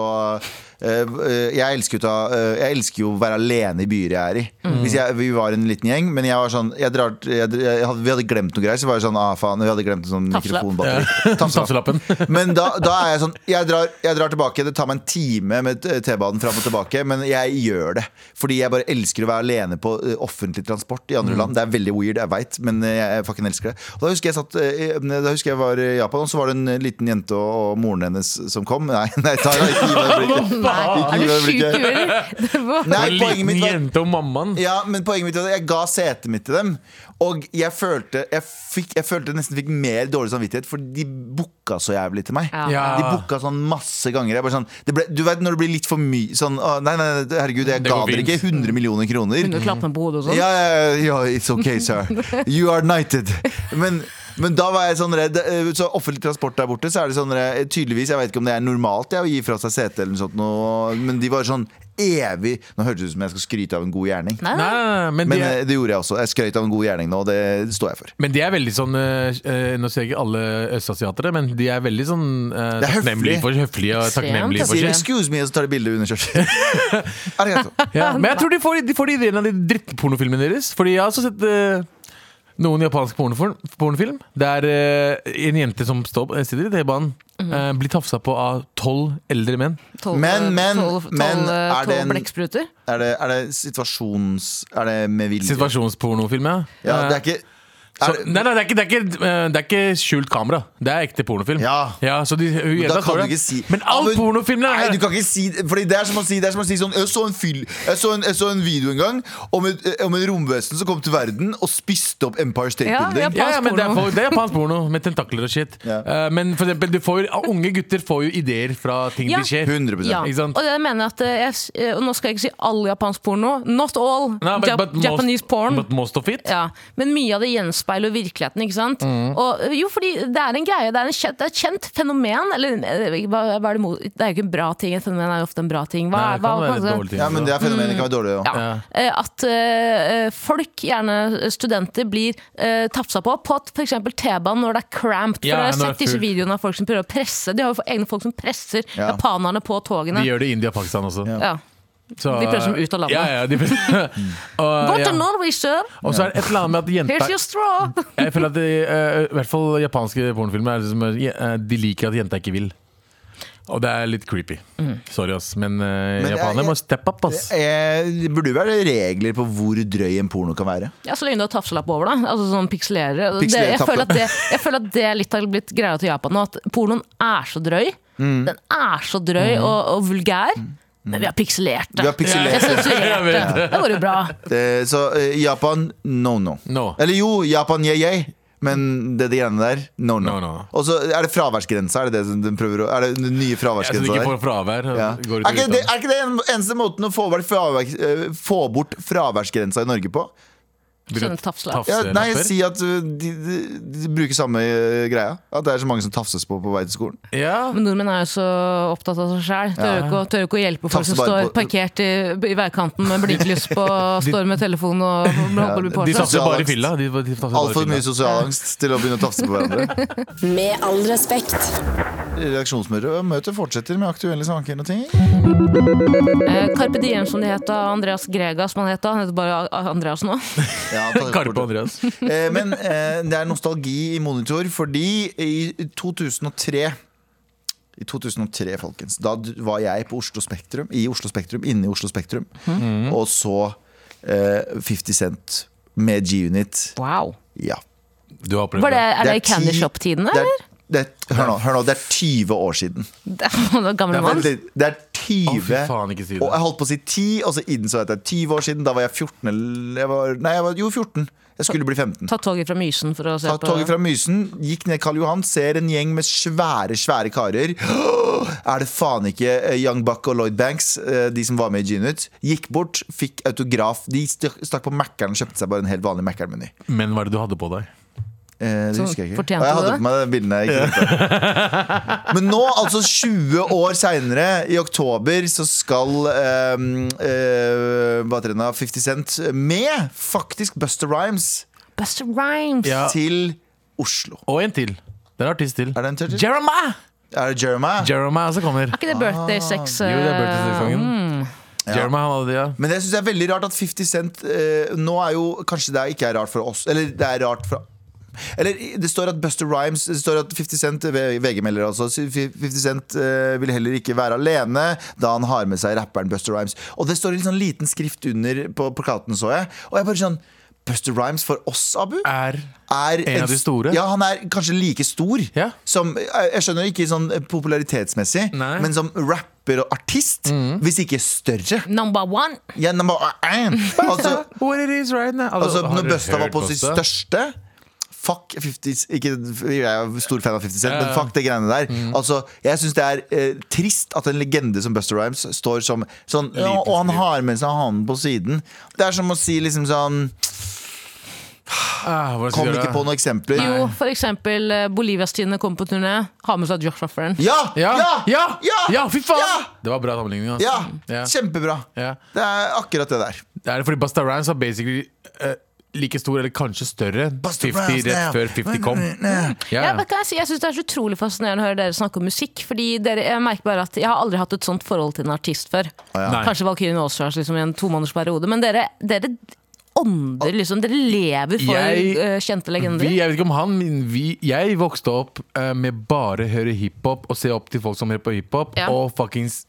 eh, eh, jeg, elsker jo ta, eh, jeg elsker jo å være alene i byer jeg er i. Mm. Hvis jeg, vi var en liten gjeng, men jeg var sånn jeg drar, jeg, jeg hadde, Vi hadde glemt noe greier, så var jeg sånn ah, faen, vi hadde glemt en sånn Tafselapp. mikrofonbatteri. Tafselapp. Tafselappen. Men da, da er jeg sånn jeg drar, jeg drar tilbake, det tar meg en time med t- T-banen fram og tilbake, men jeg gjør det. Fordi jeg bare elsker å være alene på eh, offentlig transport i andre Mm. land. Det er veldig weird, jeg veit, men eh, jeg fucking elsker det. Og da husker jeg satt eh, i- Da husker jeg var i Japan, og så var det en liten jente og, og moren hennes som kom. Nei, nei, ta da, ikke gi meg det blikket. Nei, er gi du meg sjuk i blikket. huet? Det var- Nei, En poenget liten mitt var jente og mammaen. ja, men poenget mitt er at jeg ga setet mitt til dem. Og jeg følte jeg, fikk, jeg følte jeg nesten fikk mer dårlig samvittighet, for de booka så jævlig til meg. Ja. Ja. De booka sånn masse ganger. Jeg bare sånn, det ble, du vet når det blir litt for mye sånn «Å, nei, nei, nei, herregud, jeg Det ga går dere ikke 100 millioner kroner. Begynner å klappe på hodet og Ja, sånn. ja, ja, ja, it's ok, sir. You are knighted. Men, men da var jeg sånn redd. eh, Så offentlig transport der borte, så er det sånn eh, Tydeligvis, jeg vet ikke om det er normalt jeg, å gi fra seg sete eller noe sånt, noe, men de var sånn evig Nå hørtes det ut som jeg skal skryte av en god gjerning. Nei, Nei, nei. nei, nei, men, Men de, eh, det gjorde jeg også. Jeg skrøt av en god gjerning nå, og det står jeg for. men de er veldig sånn eh, eh, Nå ser jeg ikke alle østasiatere, men de er veldig sånn eh, Det er høflig. takknemlige for, høflige og Ekstremt takknemlige Sier for høflig. sitt. 'excuse me', og så tar de bilde under skjørtet. Ja, men jeg tror de får, de får de ideen av de drittpornofilmene deres. Fordi jeg har også sett eh, noen japansk pornofilm, pornofilm der eh, en jente som står, sitter i T-banen, eh, blir tafsa på av tolv eldre menn. Tolv- Men, men, tolv- tolv- men, er det tolv en- blekkspruter? Er det, er det situasjons... Er det med vilje? Situasjonspornofilm, ja. Ja, det Eh, er ikke så, er, det- nei, nei, det er, ikke, det, er ikke, eh, det er ikke skjult kamera. Det er ekte pornofilm. Ja. så de, hun Men jenta da kan står du der. ikke si Men Ja, all men- pornofilm er Nei, du kan ikke si Fordi det er som å si, det er som å si sånn Jeg så en, fil, jeg så en, jeg så en video en gang om, et, eh, om en romvesen som kom til verden og spiste opp Empire State Ja, Building. ja, ja, men det, er, porno. for- det er japansk porno med tentakler og shit. Ja. Eh, men for eksempel, du får, unge gutter får jo ideer fra ting Ja. de ser. 100 Ja. Ikke sant? Og det mener jeg at eh, jeg, s- eh, og Nå skal jeg ikke si all japansk porno. Not all Nei, but- Jap but most- Japanese porn. But most of it. ja. Men mye av det gjenspeiler virkeligheten. ikke sant? Mm. Og, eh, jo, fordi det er en greie, det er, en kjent, det er et kjent fenomen. Eller eh, hva, hva er det, mot, det er jo ikke en bra ting, et fenomen er jo ofte en bra ting. Hva, Nei, det hva, kan være hva- dårlig ting Ja, men også. det er fenomenet kan være dårlig òg. Mm. ja. Eh, At eh, eh, folk, gjerne studenter, blir uh, tafsa på på at f.eks. T-banen når det er cramped. For Ja, jeg har når det er sett disse fullt. videoene av folk som prøver å presse. De har jo egne folk som presser Ja. japanerne på togene. De gjør det i India og Pakistan også. ja. Så, eh, De presser dem ut av landet. Ja, ja, de presser- Gå og, til ja. Norway, sir! og så er det et eller annet med at Here's jenter your straw! Jeg føler at de, eh, I hvert fall japanske pornofilmer er liksom, eh, De liker at jenta ikke vil. Og det er litt creepy. Mm. Sorry, ass. Men, eh, Men jeg- japanere må jeg- steppe opp, ass. Eh, Det burde jo være regler på hvor drøy en porno kan være. Ja, Så lenge du har tafselapp over, da. Altså sånn pikselere. Det, jeg, Pikselere føler tappe. at det, jeg føler at det er litt har blitt greia til Japan nå, at pornoen er så drøy. Mm. Den er så drøy og, og vulgær. Men vi har pikselert Vi har det. Jeg pikselert sensurerte det. vet Det går jo bra. Eh, Så eh, Japan, no no. No. Eller jo, Japan, yeah, yeah. Men det de greiene der, no no. No, no. Og så er det fraværsgrensa. Er det det som den prøver å Er det den nye Jeg synes fraværsgrensa ikke der? får fravær. Ja. og Går ut Er, ikke av det, er ikke det en- eneste måten å få bort, fraværs, eh, få bort fraværsgrensa i Norge på? Sånne tafselapp. Ja, Tafselapper? nei, si at uh, de, de, de bruker samme eh, greia. At det er så mange som tafses på på vei til skolen. Ja. Men nordmenn er jo så opptatt av seg sjæl. Tør, ikke å- tør ikke å hjelpe folk Tafse som bare står på- parkert i, i veikanten med blinklys på, står med telefon og holder på De med tafser Sosial bare i angst. fylla. De, de tafser bare i Altfor fylla. mye sånn- sosial angst til å begynne å tafse på hverandre. Med all respekt. Redaksjonsmøtet fortsetter med aktuelle saker og ting. Eh, Carpe Diem, som det het da. Andreas Grega, som han het da. Han heter bare A- Andreas nå. Ja, ta det Karpe bort. og Andreas. Eh, Men eh, det er nostalgi i monitor fordi i 2003 i 2003, folkens, da d- var jeg på Oslo Spektrum, i Oslo Spektrum, inne i Oslo Spektrum, Mhm. og så eh, 50 Cent med G-Unit. Wow. Ja. Du har opplevd Var det, er det, i ti- Candy Shop-tidene, det er- eller? det er- Hør nå, hør nå, det er 20 år siden. Det er, Det gammel er, mann. veldig, det er 20 Å, fy faen, ikke si det. Og jeg holdt på å si 10, og så innså jeg at det er 20 år siden. Da var jeg 14 eller jeg var, Nei, jeg var jo 14. Jeg skulle bli 15. Ta toget fra Mysen for å se Ta på toget fra Mysen, gikk ned Karl Johan, ser en gjeng med svære, svære karer. Er det faen ikke eh, Young Buck og Lloyd Banks, eh, de som var med i G-Nut? Gikk bort, fikk autograf. De stakk stakk på Mækkern og kjøpte seg bare en helt vanlig Mækkern-meny. Men hva er det du hadde på deg? Eh, det Så husker jeg ikke. fortjente Og jeg du hadde det? på meg de bildene jeg ikke brukte. Men nå, altså 20 år seinere, i oktober, så skal eh, eh, hva heter den da, 50 Cent med faktisk Buster Rhymes Buster Rhymes! Ja. til Oslo. Og en til. Det er en artist til. Er det en til? Jeremiah! Er det Jeremiah? Jeremiah som kommer. Er ikke det Ah. Birthday Sex? eh, Jo, det er birthday-sesongen. Mm. Jeremiah han hadde det, ja. Men jeg synes det er veldig rart at 50 Cent eh, Nå er jo kanskje det er ikke er rart for oss Eller det er rart for eller det står at Buster Rhymes Det står at 50 Cent V- VG melder altså 50 Cent eh, vil heller ikke være alene Da han har med seg rapperen Buster Rhymes Og det står en sånn liten skrift under På plakaten så jeg Og jeg bare sånn Buster Rhymes for oss, Abu? Er er En av de store? Ja, han er kanskje like stor Ja. som Jeg jeg skjønner ikke sånn popularitetsmessig, Nei. Mm. men som rapper og artist, hvis ikke større. Number one! Ja, number one. Altså, What it is right now altså har når du Busta var hørt på sitt Busta? største Fuck 50 Ikke jeg er stor fan av 50 Cent, Ja, men ja. Mm. fuck det greiene der. Altså, jeg syns det er eh, trist at en legende som Buster Rhymes står som sånn ja, Og han har med seg hanen på siden. Det er som å si liksom sånn Ah, Kom hvordan skal vi gjøre ikke det? på noen eksempler. Jo, for eksempel eh, Bolivias Tine kommer på turné, har med seg Joshua Friend. Ja! Ja! Ja! Ja! Ja, fy faen! Ja! Det var bra sammenligning. Altså. Ja, Ja. kjempebra. Ja. Det er akkurat det der. Det er fordi Busta Rhymes var basically eh, like stor, eller kanskje større, enn 50 rett før 50 kom. Ja, Ja, men kan jeg si, jeg synes Det er så utrolig fascinerende å høre dere snakke om musikk. Fordi dere, Jeg merker bare at jeg har aldri hatt et sånt forhold til en artist før. Nei. Kanskje Valkyrien Aasvars liksom, i en tomånedersperiode. Men dere, dere Ah. ånder liksom. Dere lever for Jeg- eh, kjente legender. Vi, jeg vet ikke om han, men vi, jeg vokste opp eh, med bare å høre hiphop og se opp til folk som hører på hiphop, Ja. og fuckings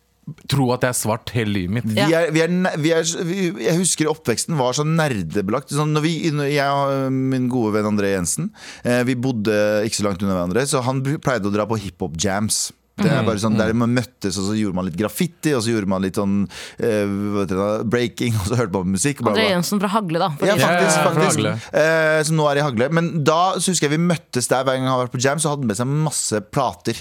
tro at jeg er svart hele livet mitt. Vi Ja. er, vi er, ne- vi er, vi, jeg husker oppveksten var så nerdebelagt. Sånn når vi, når jeg og min gode venn André Jensen eh, Vi bodde ikke så langt unna hverandre, så han br- pleide å dra på hiphop-jams. Det Mm. er bare sånn, Der man møttes, og så gjorde man litt graffiti, og så gjorde man litt sånn eh, hva heter det, da, breaking, og så hørte man på musikk. bla, bla, André bla. Jensen fra Hagle, da. for Ja, de som- faktisk. Ja, faktisk. Hagle. Eh, så nå er jeg i Hagle. Men da så husker jeg vi møttes der hver gang han har vært på jam, så hadde han med seg masse plater.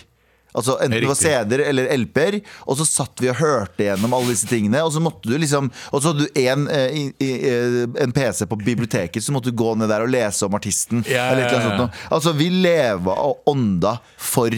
Altså Enten det var Riktig. CD-er eller LP-er. Og så satt vi og hørte gjennom alle disse tingene. Og så måtte du liksom Og så hadde du en, eh, i- i- eh, en PC på biblioteket, så måtte du gå ned der og lese om artisten. Ja, eller et eller annet ja, ja. sånt noe. Altså, vi leva og ånda for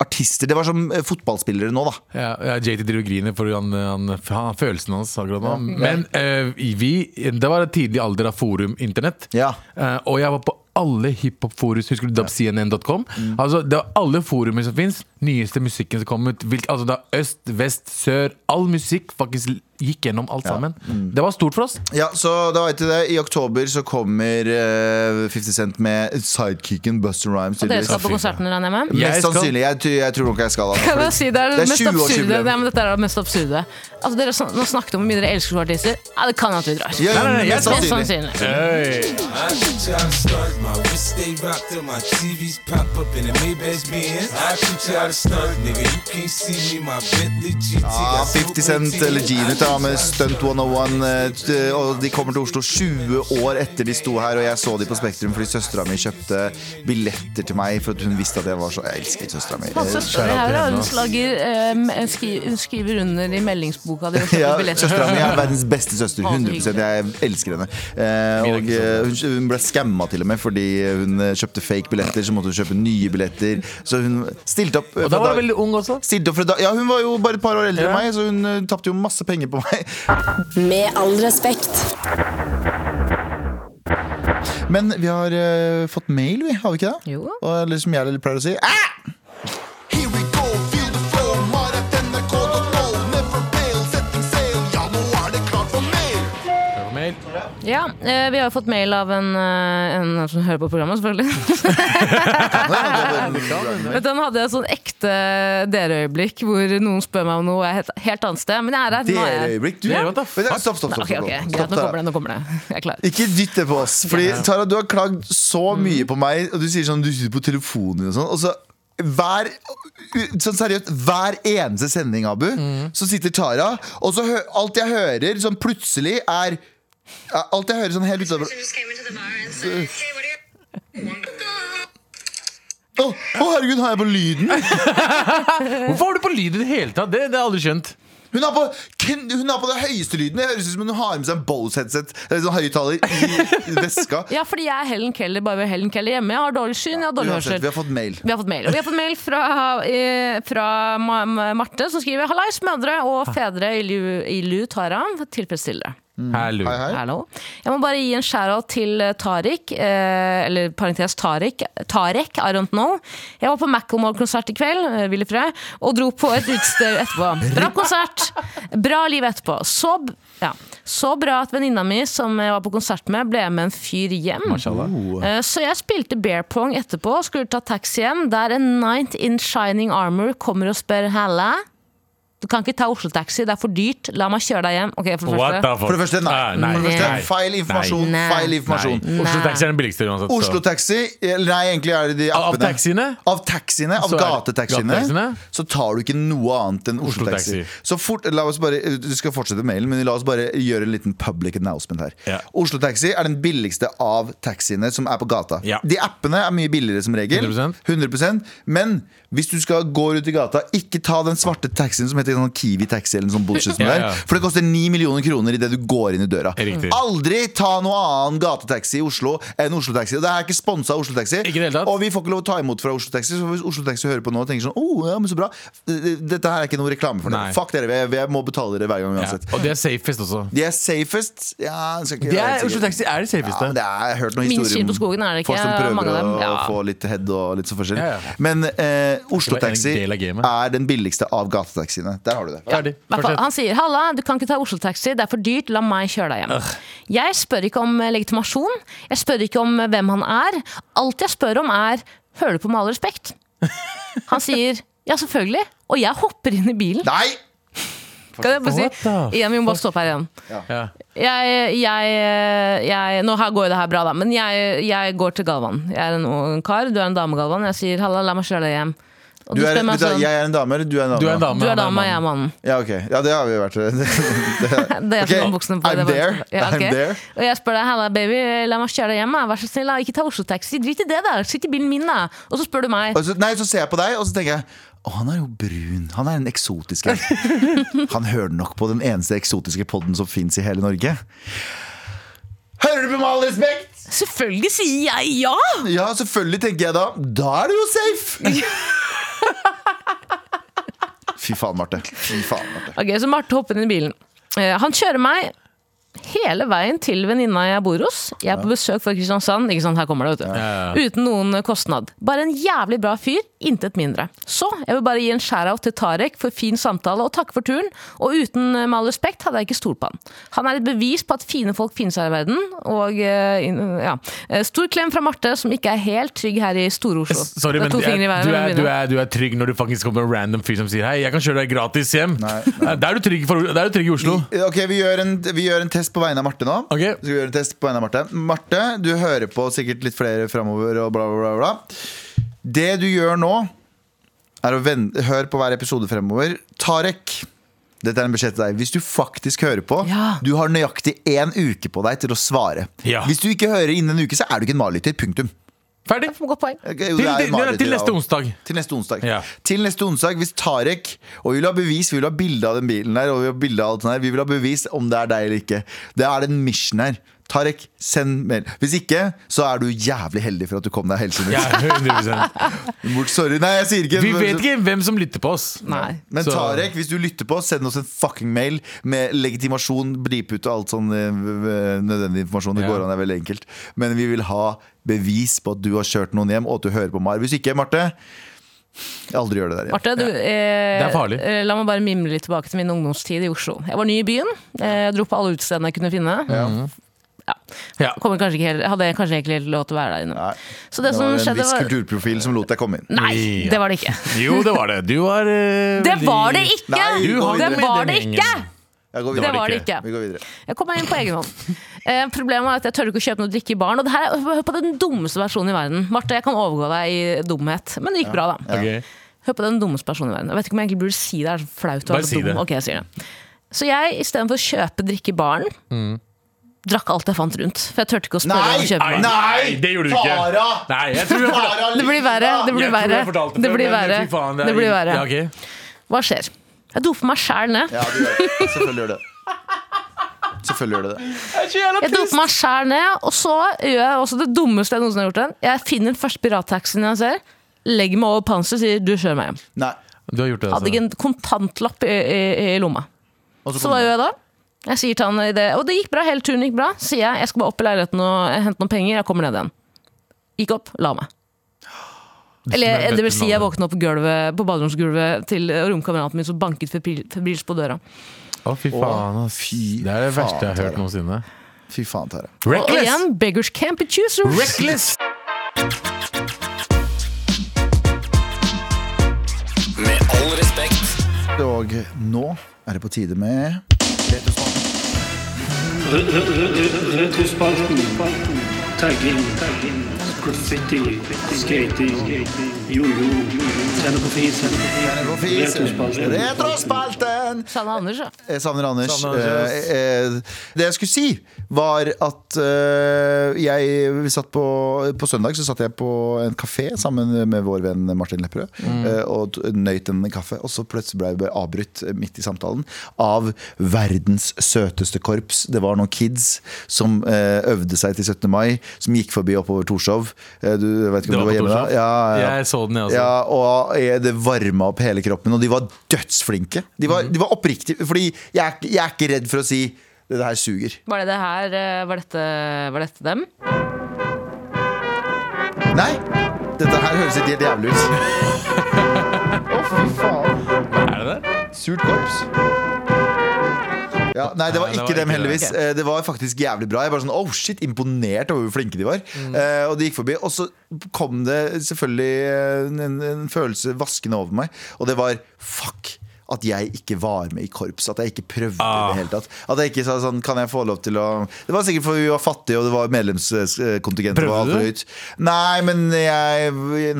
artister. Det var som eh, fotballspillere nå, da. Ja, ja, JT driver og griner for han, han, han, følelsen hans akkurat nå. Men eh, vi, det var en tidlig alder av forum-internett. Ja. Eh, og jeg var på alle hiphop-forus. Husker du dubcnn.com? Mm. Altså, det var alle forumer som fins. Nyeste musikken som kom ut. Hvilk, altså, da Øst, vest, sør. All musikk faktisk gikk gjennom alt sammen. Mm. Det var stort for oss. Ja, så da vet du det. I oktober så kommer eh, 50 Cent med sidekicken Buster Rhymes. Og dere skal tydeligvis. på konserten, regner jeg med? Jeg Mest skal- sannsynlig. Jeg, tror- jeg tror nok jeg skal. altså. da. Kan jeg si, det er det, Det er mest 20 års absurde jubileum. Nei, men Dette er det mest absurde. Altså, dere sn nå snakket om hvor mye dere elsker som artister. Ja, det kan jeg at vi drar. Ja, ja, nei, jeg mest skal- Mest sannsynlig. sannsynlig. I shoot till I stunt. My wrist stay rocked up, my TVs pop up in the Maybach Benz. I shoot till I stunt, nigga. You can't see me, my Bentley GT. Ja, got 50 Ah, Cent eller G-Nut da, med Stunt 101. eh, t- Og de kommer til Oslo 20 år etter de sto her, og jeg så de på Spektrum fordi søstera mi kjøpte billetter til meg for at hun visste at jeg var så Jeg elsket søstera mi. Masse Eh, større her, da. Hun slager, eh, skri- hun skriver under i meldingsboka di og kjøper Ja, billetter. Søstera mi er verdens beste søster. 100 Jeg elsker henne. Eh, Min er og ikke eh, hun, hun ble skamma til og med fordi hun eh, kjøpte fake billetter, så måtte hun kjøpe nye billetter. Så hun stilte opp. eh, Og da fra var jeg dag- veldig ung også. Stilte opp fra dag- ja, hun var jo bare et par år eldre Ja. enn meg, så hun uh, tapte jo masse penger på meg. Med all respekt. Men vi har eh, fått mail, vi, har vi ikke det? Jo. Og, eller som jeg pleier å si ah! Here we go, feel the flow, maratnrk.no, never fail, setting sail, ja, nå er det klart for mail. Ja, eh, vi har jo fått mail av en, eh, en som hører på programmet, selvfølgelig. Men den hadde et sånn ekte dere-øyeblikk hvor noen spør meg om noe jeg er et helt annet sted. Men jeg er her. Nå er Dere jeg her. øyeblikk, du. Ja, what the Vent, Stopp, stopp, altså, stopp. stopp, Ok, ok, stopp, greit, nå Tara. kommer det. Nå kommer det. Jeg er klar. Ikke dytt det på oss. Fordi Tara, du har klagd så mye på meg, og du sier sånn du sitter på telefonen din og sånn. Og så hver Sånn seriøst, hver eneste sending, Abu, så sitter Tara, og så hø alt jeg hører sånn plutselig, er Alt jeg hører sånn helt Øh. utover just came into the bar and said, "Hey, what are you?" Å, å, herregud, har jeg på lyden? Hvorfor har du på lyd i det hele tatt? Det, det har jeg aldri skjønt. Hun har på, kun- hun har på det høyeste lyden. Det høres ut som hun har med seg en Bose-headset eller sånn høyttaler i veska. Ja, fordi jeg er Helen Keller, bare ved Helen Keller hjemme. Jeg har dårlig syn, jeg har dårlig Uansett, vi hørsel. har fått mail. Vi har fått mail. Og vi har fått mail fra, eh, fra Ma- Ma- Marte, som skriver Hallais, mødre og fedre i Lu, i Lu Tara. Tilfredsstill dere. Mm. Hallo. Hei, hei. Hallo. Jeg må bare gi en shout-out til eh, Tariq, eh, eller parentes Tariq, Tarek, I don't know. Jeg var på Macclemore-konsert i kveld, eh, Ville Frø, og dro på et utested etterpå. Bra konsert! Bra liv etterpå. Så, b- ja. Så bra at venninna mi som jeg var på konsert med, ble med en fyr hjem. Eh, Så jeg spilte bear pong etterpå og skulle ta taxi hjem, der en Night in Shining Armor kommer og spør 'halla'. Du kan ikke ta Oslo-taxi, det er for dyrt. La meg kjøre deg hjem. Ok, for det første. fuck? Ah, For det første, nei. For det første, feil informasjon. Nei. Feil informasjon. Nei. Oslo Taxi er den billigste uansett. så- Oslo Taxi Eller nei, egentlig er det de altså. Av- av appene. taxiene? Av taxiene, av Så er det gatetaxiene. gatetaxiene. Så tar du ikke noe annet enn Oslo Oslo Taxi. Taxi. Så fort, la oss bare, eh, Du skal fortsette mailen, men la oss bare gjøre en liten public announcement her. Ja. Oslo Taxi er den billigste av taxiene som er på gata. Ja. De appene er mye billigere som regel. 100%. 100%, Men hvis du skal gå rundt i gata, ikke ta den svarte taxien som heter sånn Kiwi Taxi eller noe sånn bullshit. som Ja, det ja. er, For det koster 9 millioner kroner idet du går inn i døra. Riktig. Aldri ta noe annen gatetaxi i Oslo enn Oslo Taxi. Og det her er ikke sponsa av Oslo Taxi. Ikke i det hele tatt. Og vi får ikke lov å ta imot fra Oslo Taxi. Så hvis Oslo Taxi hører på nå og tenker sånn oh, ja, men så bra Dette her er ikke noe reklame for dere. Nei. Fuck dere, vi, vi må betale dere hver gang Ja. uansett. Og det er safest også. De er safest. Ja, jeg skal ikke Det jeg er, vet Oslo ikke. Taxi er det Ja, safeste. men det er, jeg har hørt noen Minst historier skinn på skogen er det ikke, folk som prøver mange av dem. å Ja. få litt head og litt så forskjellig. Ja, ja. Men eh, Oslo Det var en Taxi del av gamet. er den billigste av gatetaxiene. Der har du det. Ferdig. Hvertfall, Fortsett. Han sier 'halla, du kan ikke ta Oslo-taxi, det er for dyrt, la meg kjøre deg hjem'. Jeg spør ikke om eh, legitimasjon, jeg spør ikke om eh, hvem han er. Alt jeg spør om er 'hører du på med all respekt'? Han sier 'ja, selvfølgelig', og jeg hopper inn i bilen. Nei! Kan jeg bare si, What the igjen, Vi må bare stoppe her igjen. Ja. Jeg, jeg, eh, jeg, nå her går jo det her bra, da, men jeg, jeg går til Galvan. Jeg er en ung kar, du er en dame, Galvan. Jeg sier 'halla, la meg kjøre deg hjem'. Og Du du, er, spør meg vet du hva, sånn jeg er en dame, eller du er en dame? Du er en dame. Du er han dame, en jeg er mann. mannen. Ja, ok. Ja, det har vi jo vært. Det, Det er Ok, okay. buksene på. det I'm var- there. Ja, ok. I'm there. Og jeg spør deg, halla baby, la meg kjøre deg hjem. da. Vær så snill, da. ikke ta Oslo-taxi. Drit i det, da. Sitt i bilen min, da. Og så spør du meg. Og så, nei, så ser jeg på deg, og så tenker jeg å, han er jo brun. Han er en eksotisk en. Han hører nok på den eneste eksotiske podden som fins i hele Norge. Hører du på med all respekt? Selvfølgelig sier jeg ja! Ja, selvfølgelig, tenker jeg da. Da er du jo safe! Fy faen, Marte. Fy faen, Marte. Ok, Så Marte hopper inn i bilen. Eh, han kjører meg hele veien til venninna jeg bor hos. Jeg er på besøk fra Kristiansand. Ikke sant, her kommer det, vet du. ja, Uten noen kostnad. Bare en jævlig bra fyr. Intet mindre. Så jeg vil bare gi en shout-out til Tarek for fin samtale og takke for turen. Og uten eh, med all respekt hadde jeg ikke stolt på han. Han er et bevis på at fine folk finnes her i verden. Og eh, in- ja. Eh, Stor klem fra Marte, som ikke er helt trygg her i Store-Oslo. S- Sorry, Det er men to du er, fingre i været du, når er, man du, begynner. er, du er trygg når du faktisk kommer en random fyr som sier Hei, jeg kan kjøre deg gratis hjem. Nei, Da er du trygg, for, da er du trygg i Oslo. Ok, vi gjør, en, vi gjør en test på vegne av Marte nå. Ok. Skal vi gjøre en test på vegne av Marte Marte, du hører på sikkert litt flere framover og bla, bla, bla, bla. Det du gjør nå, er å ven- høre på hver episode fremover. Tarek, dette er en beskjed til deg. Hvis du faktisk hører på, Ja. du har nøyaktig én uke på deg til å svare. Ja. Hvis du ikke hører innen en uke, så er du ikke en malytter. Punktum. Ferdig. Godt poeng. Ok, jo, Til, det er til, en malytter, til neste da. onsdag. Til neste onsdag. Ja. Til neste onsdag, hvis Tarek Og vi vil ha bevis, vi vil ha bilde av den bilen her, og vi vil ha bilde av alt sånt her. Vi vil ha bevis om det er deg eller ikke. Det er en mission her. Tarek, send mail. Hvis ikke, så er du jævlig heldig for at du kom deg helskinnet Ja, 100% bort. Sorry. Nei, jeg sier ikke Vi vet ikke hvem som lytter på oss. Nei. Men Så- Tarek, hvis du lytter på, send oss en fucking mail med legitimasjon, blipute og alt sånn eh, v- v- nødvendig informasjon. Det Ja. går an, det er veldig enkelt. Men vi vil ha bevis på at du har kjørt noen hjem, og at du hører på Mar. Hvis ikke, Marte, aldri gjør det der igjen. Marte, du, eh, Det er farlig. eh, la meg bare mimre litt tilbake til min ungdomstid i Oslo. Jeg var ny i byen. Eh, jeg dro på alle utestedene jeg kunne finne. Ja. Kommer kanskje ikke helt, hadde jeg kanskje egentlig ikke lov til å være der inne. Nei. Så det, Det som var en skjedde viss var kulturprofil som lot deg komme inn. Nei, Ja. det var det ikke. Jo, det var det. Du var eh, Det veldig- var det ikke! Nei, Du gå har videre. det var det den ikke! gjengen. Jeg går Det videre. var det ikke. ikke. Vi går videre. Jeg kom meg inn på egen hånd. Eh, problemet er at jeg tør ikke å kjøpe noe å drikke i baren. Og det her er hør på den dummeste versjonen i verden. Marte, jeg kan overgå deg i dumhet. Men det gikk bra, da. Ok. Hør på den dummeste personen i verden. Jeg vet ikke om jeg egentlig burde si det. Det er så flaut å Bare være si så det. dum. Ok, jeg sier det. Så jeg, istedenfor å kjøpe drikke i baren, drakk alt jeg fant rundt. For jeg turte ikke å spørre om å kjøpe. Nei, meg. nei, det gjorde du ikke. Tara! Nei, jeg tror jeg fortalte Tara, Det blir verre. Det Jeg blir tror verre. jeg fortalte Det før, blir men verre. fy faen, det er- Det blir verre. Ja, ok. Hva skjer? Jeg doper meg sjæl ned. Ja, du gjør det. Selvfølgelig gjør det. Selvfølgelig gjør det det. Jeg doper meg sjæl ned, og så gjør jeg også det dummeste jeg noensinne har gjort. Den. Jeg finner den første pirattaxien jeg ser, legger meg over panseret og sier 'du kjører meg hjem'. Nei. Du har gjort det, Hadde ikke altså. en kontantlapp i, i, i lomma. Og Så hva kommer- gjør jeg da? Jeg sier til han i det, og det gikk bra, hele turen gikk bra. Sier jeg jeg skal bare opp i leiligheten og hente noen penger, jeg kommer ned igjen. Gikk opp, la meg. Eller det vil si jeg våkna opp på, gulvet, på baderomsgulvet til romkameraten min som banket febril- febrilsk på døra. Å, fy faen, ass. Fy Det er det verste jeg har faen, hørt noensinne. Fy faen, Tara. Og igjen, beggars can't be choosers. Reckless! Med all respekt. Og nå er det på tide med Retrospalten. Tagging. Graffiti. Skating. Jojo. Tenne på fisen. Retrospalten. Retrospalten! Sanne Anders, ja. Jeg savner Anders. Savner Anders. Eh, eh, det jeg skulle si, var at eh, jeg vi satt på, på søndag så satt jeg på en kafé sammen med vår venn Martin Lepperød Mm. eh, og t- nøyt en kaffe. Og så plutselig ble jeg avbrutt eh, midt i samtalen av verdens søteste korps. Det var noen kids som eh, øvde seg til 17. mai, som gikk forbi oppover Torshov. Eh, du vet ikke om du Det var var på hjemme da? Torshov? Ja, ja. Jeg så den, jeg også. Ja, og jeg- det varma opp hele kroppen, og de var dødsflinke. De var, de var oppriktige, fordi jeg er, ikke- jeg er ikke redd for å si det her suger. Var det det her, eh, var dette, var dette dem? Nei! Dette her høres ikke helt jævlig ut. Å, fy faen. Er det det? Surt korps. Ja, nei, det var Nei, det ikke var dem, ikke heldigvis. det. Eh, Det var faktisk jævlig bra. Jeg var sånn, oh shit, Imponert over hvor flinke de var. Mm. Eh, Og de gikk forbi. Og så kom det selvfølgelig eh, en, en, en følelse vaskende over meg, og det var fuck. At jeg ikke var med i korps. At jeg ikke prøvde i Ah. det hele tatt. At jeg ikke sa sånn, kan jeg få lov til å Det var sikkert fordi vi var fattige, og det var medlemskontingent. Prøvde du? Nei, men jeg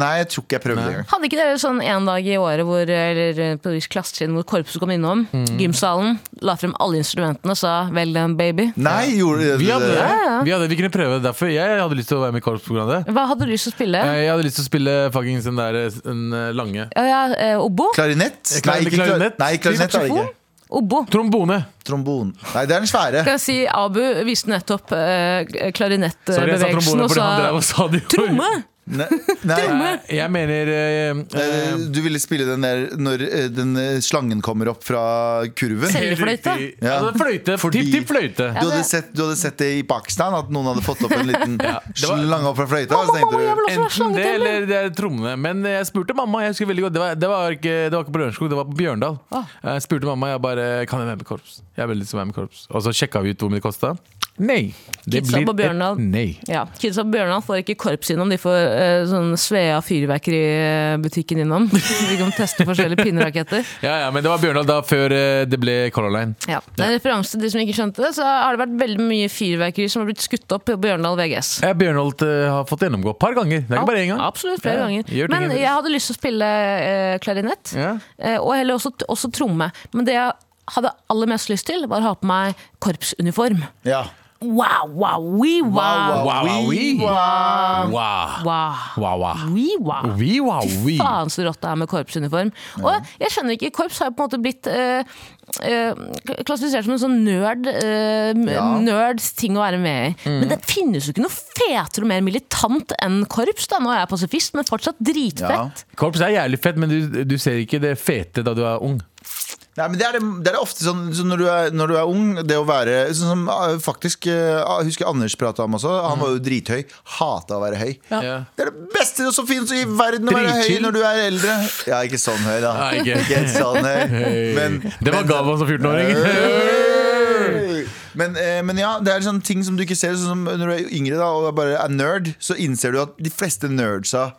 Nei, jeg tror ikke jeg prøvde engang. Hadde ikke dere sånn en dag i året hvor, eller eh, på et visst klassetrinn hvor korpset kom innom? Gymsalen la frem alle instrumentene og sa 'vel done, baby'. Nei, gjorde Vi hadde det. ja. Vi, hadde, vi kunne prøve det derfor. Jeg hadde lyst til å være med i korps på grunn av det. Hva hadde du lyst til å spille? Eh, Jeg hadde lyst til å spille fuckings den der eh, den eh, lange Ja, ja, eh, Obo? Klarinett? Eh, Klar- Nei, ikke klarinett. klarinett. Nei, klarinett er det Saksofon? ikke. Obo. Trombone! Trombon. Nei, det er den svære. Kan jeg si Abu viste nettopp eh, Sorry, jeg sa klarinettbevegelsen trombone og fordi han drev sa og sa det. jo. tromme! Nei, nei. Eh, Jeg mener eh, eh, Eh, Du ville spille den der når eh, den eh, slangen kommer opp fra kurven. Selv- Fløyte? riktig. Ja. Altså, fløyte. Eh, Fordi- Tipp, tipp, fløyte. Du hadde, sett, du hadde sett det i Pakistan, at noen hadde fått opp en liten var- slange opp fra fløyta. Og så tenkte jeg vil du også være Enten det slangeteller! eller det er trommene. Men jeg spurte mamma. jeg husker veldig godt Det var, det var, ikke, det var ikke på Lørenskog, det var på Bjørndal. Ah. Jeg spurte mamma jeg bare, kan jeg være med i korps. Jeg har veldig lyst til å være med i korps Og så sjekka vi ut hvor mye det kosta. Nei! Det Kidsa på Bjørndal. nei. Ja, Kidsa på Bjørnar får ikke korps innom, de får eh, sånn Svea fyrverkeributikken innom. Vi kan teste forskjellige pinneraketter. Ja, ja, men det var Bjørndal da før eh, det ble Color Line. Ja. Det er en referanse til de som ikke skjønte det, så har det vært veldig mye fyrverkeri som har blitt skutt opp på Bjørndal VGS. Ja, Bjørndal eh, har fått gjennomgå et par ganger. Det er ikke bare én gang. Absolutt, flere Ja, ganger. gjør ting Men i- jeg hadde lyst til å spille eh, klarinett, Ja. eh, og heller også, også tromme. Men det jeg hadde aller mest lyst til, var å ha på meg korpsuniform. Ja. Wow, wow, we, wow. Wow, wow, Wee, wow. wow. Wow, Wow, wow. wow. we, wow. Wee, wow, Fy wee. faen så rått det er med korpsuniform. Og jeg skjønner ikke, korps har jo på en måte blitt eh, eh, klassifisert som en sånn nerd, eh, m- Ja. nerds ting å være med i. Mm. Men det finnes jo ikke noe fetere og mer militant enn korps. da Nå er jeg pasifist, men fortsatt Ja. dritfett. Korps er jævlig fett, men du, du ser ikke det fete da du er ung. Nei, men det er, det, det er ofte sånn så når, du er, når du er ung, det å være Sånn som eh, faktisk eh, Jeg husker Anders prata om også. Han var jo drithøy. Hata å være høy. Mm. Ja. Det er det beste som finnes i verden å være høy Dritchill. når du er eldre. Ja, ikke sånn høy, da. Nei, ikke. sånn høy. Men, det var Galvan som 14-åring. men, eh, men ja, det er sånne ting som du ikke ser. Sånn som når du er yngre da, og bare er nerd, så innser du at de fleste nerdsa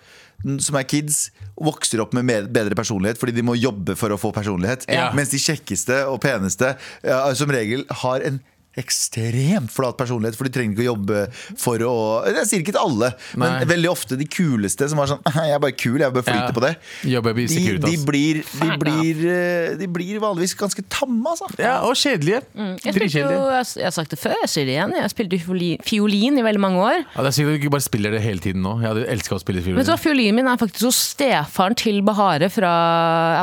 n- som er kids, vokser opp med med bedre personlighet fordi de må jobbe for å få personlighet. Ja. Mens de kjekkeste og peneste ja, som regel har en ekstremt flat personlighet, for de trenger ikke å jobbe for å Jeg sier ikke til alle, Nei. men veldig ofte de kuleste som er sånn Jeg er bare kul, jeg bør flyte Ja. på det. Jobber i De, de, Securitas. blir, de, blir, eh, de blir vanligvis ganske tamme, altså. Ja, og kjedelige. Mm, Jeg, spilte jo, Dritkjedelige. jeg, jeg har sagt det før, jeg sier det igjen. Jeg spilte jo fioli- fiolin i veldig mange år. Ja, det er sikkert at du ikke bare spiller det hele tiden nå. Jeg hadde elska å spille Vet du fiolin. hva, Fiolinen min er faktisk hos stefaren til Bahare fra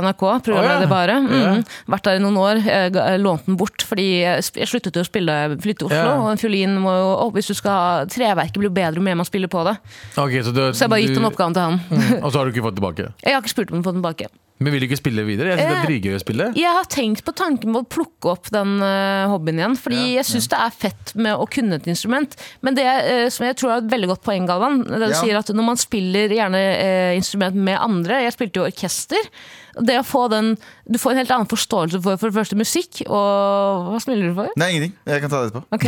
NRK. Programleder Å, ja. Bahare. Mm. Vært der i noen år. Jeg ga- lånte den bort fordi jeg sp- jeg sluttet jo å spille flytte til Oslo. Ja. Og en fiolin må jo opp hvis du skal ha Treverket blir jo bedre jo mer man spiller på det. Ok, så, du, Så jeg bare gitt du- Mm. den oppgaven til han. Og så har du ikke fått tilbake. Jeg har ikke spurt om å få den tilbake. Men vil du ikke spille videre? Jeg synes Eh, det er dritgøy å spille. Jeg har tenkt på tanken på å plukke opp den eh, hobbyen igjen. Fordi jeg syns det er fett med å kunne et instrument. Men det eh, som jeg tror er et veldig godt poeng, Galvan, det du Ja. sier at når man spiller gjerne eh, instrument med andre Jeg spilte jo orkester. Det å få den Du får en helt annen forståelse for for det første musikk og Hva smiler du for? Nei, ingenting. Jeg kan ta det etterpå. Ok.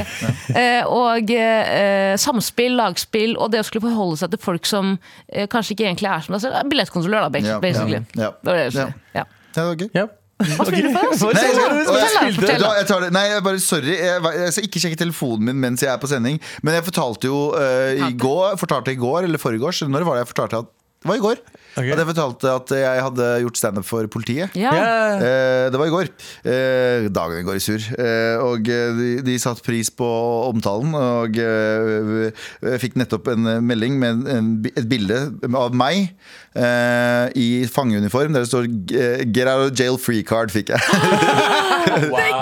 Eh, og eh, samspill, lagspill og det å skulle forholde seg til folk som eh, kanskje ikke egentlig er som deg selv. Billettkontrollør, da, Ja, basically. ja, ja. Det var det jeg Ja. skulle si. Ja. Ja, det var gøy. Ja. Hva smiler du for? oss? Nei, Fortell, da. jeg- og jeg Fortell, da. spilte- Fortell, da. da, jeg tar det. Nei, jeg bare, sorry. Jeg, var- jeg skal ikke sjekke telefonen min mens jeg er på sending. Men jeg fortalte jo eh, i går Fortalte i går eller forgårs Når var det jeg fortalte at Det var i går. Ok. At jeg fortalte at jeg hadde gjort standup for politiet. Ja. Ja. Eh, det var i går. Eh, dagen i går i sur. Eh, og eh, de, de satte pris på omtalen. Og eh, jeg fikk nettopp en eh, melding med en, en, bi- et bilde av meg eh, i fangeuniform der det står eh, 'Get out of jail free card' fikk jeg.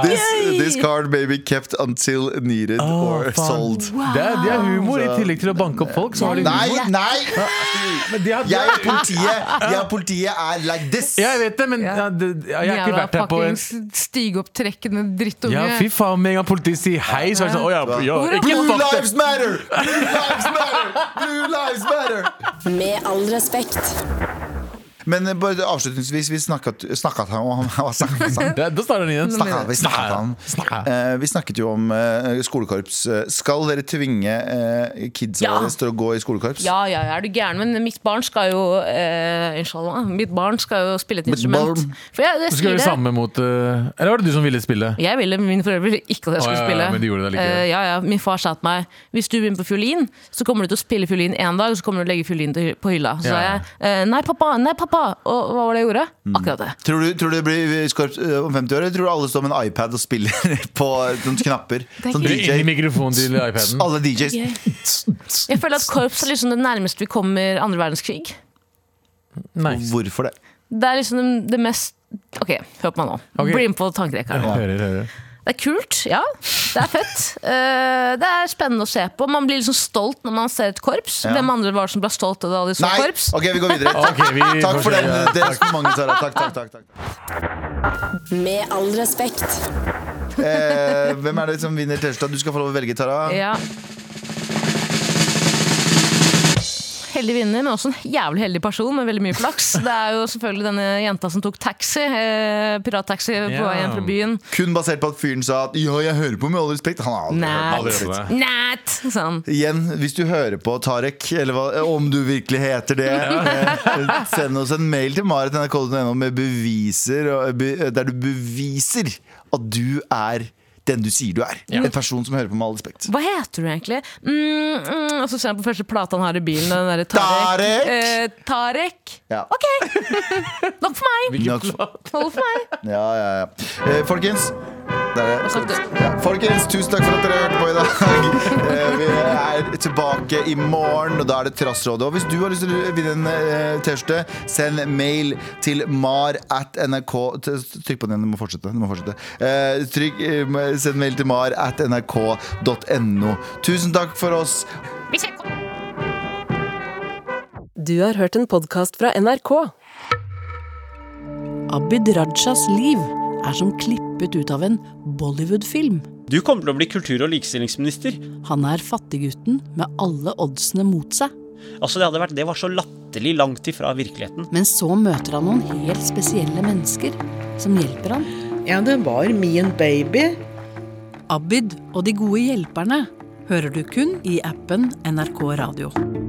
this, this card may be kept until needed or faen. sold. Det er, det er humor, i tillegg til å banke opp folk. Så har de Nei, humor. nei! Men de har- Jeg og politiet, jeg og politiet er like this. Jeg vet det, men Ja. ja, det, ja, jeg har ikke vært her på en stigeopptrekkende drittunge. Ja, fy faen, med en gang politiet sier hei, så er det sånn Å ja, ja ikke Blue fuck det. lives matter! Blue lives matter! Blue lives matter! Med all respekt. Men eh, bare avslutningsvis, vi snakket, snakket han om hva snakket han om? Ja, Da starter den igjen. Snakket, vi, snakket han. Snakket. Eh, vi snakket jo om eh, skolekorps. Eh, Skal dere tvinge eh, kidsa Ja. deres til å gå i skolekorps? Ja, ja, ja, er du gæren? Men mitt barn skal jo eh, Inshallah. Mitt barn skal jo spille et Mitt instrument. barn. For jeg, jeg, Så skal sier vi det. samme mot eh, Eller var det du som ville spille? jeg ville mine foreldre ville ikke at jeg Å, skulle ja, ja, spille. men de gjorde det likevel. Eh, ja, ja. Min far sa til meg hvis du begynner på fiolin, så kommer du til å spille fiolin én dag, og så kommer du til å legge fiolin til- på hylla. Så Ja. Mm. sa jeg eh, nei, pappa, nei, pappa. Og hva var det jeg gjorde? Akkurat det. Tror, du, tror du det blir korps eh, om 50 år, eller tror du alle står med en iPad og spiller på noen knapper? Sånn Blir Inn i DJ. mikrofonen til iPaden. Alle DJs. Jeg føler at korps er liksom det nærmeste vi kommer andre verdenskrig. Nice. Hvorfor det? Det er liksom det mest Ok, hør på meg nå. Ok. Bli med på tankerekka. her nå. Hører, hører. Det er kult, ja. Det er fett. Eh, det er spennende å se på. Man blir liksom stolt når man ser et korps. Ja. Hvem andre var det som ble stolt da de så Nei! korps? Ok, vi går videre. Ok, vi Takk for fortsetter. den, eh, det resonnementet, Sara. Takk, takk, takk, takk. Med all respekt. Eh, hvem er det som vinner T-skjorta? Du skal få lov å velge, Tara. Ja. Heldig vinner, men også en jævlig heldig person med veldig mye flaks. Det er jo selvfølgelig denne jenta som tok taxi, eh, pirattaxi på Ja. vei hjem fra byen. Kun basert på at fyren sa at Ja, jeg hører på med all respekt. Han har aldri hørt på. Nat. Aldri hørt Nat, sa han. Igjen, hvis du hører på Tarek, eller hva, om du virkelig heter det, eh, send oss en mail til marit.nrk.no med beviser, og eh, be- der du beviser at du er den du sier du er. En person som hører på med all respekt. Hva heter du egentlig? Mm, mm, og så ser han på første plata han har i bilen. Den derre Tarek. Tarek! Eh, Tarek. Ja. Nok for meg! Nok- Hold for meg. Ja, ja, ja. Eh, folkens, der er Hva sa du? Ja, folkens, tusen takk for at dere hørte på i dag. Eh, Vi er tilbake i morgen, og da er det Trassrådet. Og hvis du har lyst til å vinne en eh, T-skjorte, send mail til mar at nrk t- Trykk på den, du må fortsette. Du må fortsette. Eh, Trykk, eh, send mail til mar at nrk.no. Tusen takk for oss. Du har hørt en podkast fra NRK. Abid Rajas liv er som klippet ut av en Bollywood-film. Du kommer til å bli kultur- og likestillingsminister. Han er fattiggutten med alle oddsene mot seg. Altså, det, hadde vært, det var så latterlig langt ifra virkeligheten. Men så møter han noen helt spesielle mennesker som hjelper han. Ja, det var min baby. Abid og de gode hjelperne hører du kun i appen NRK Radio.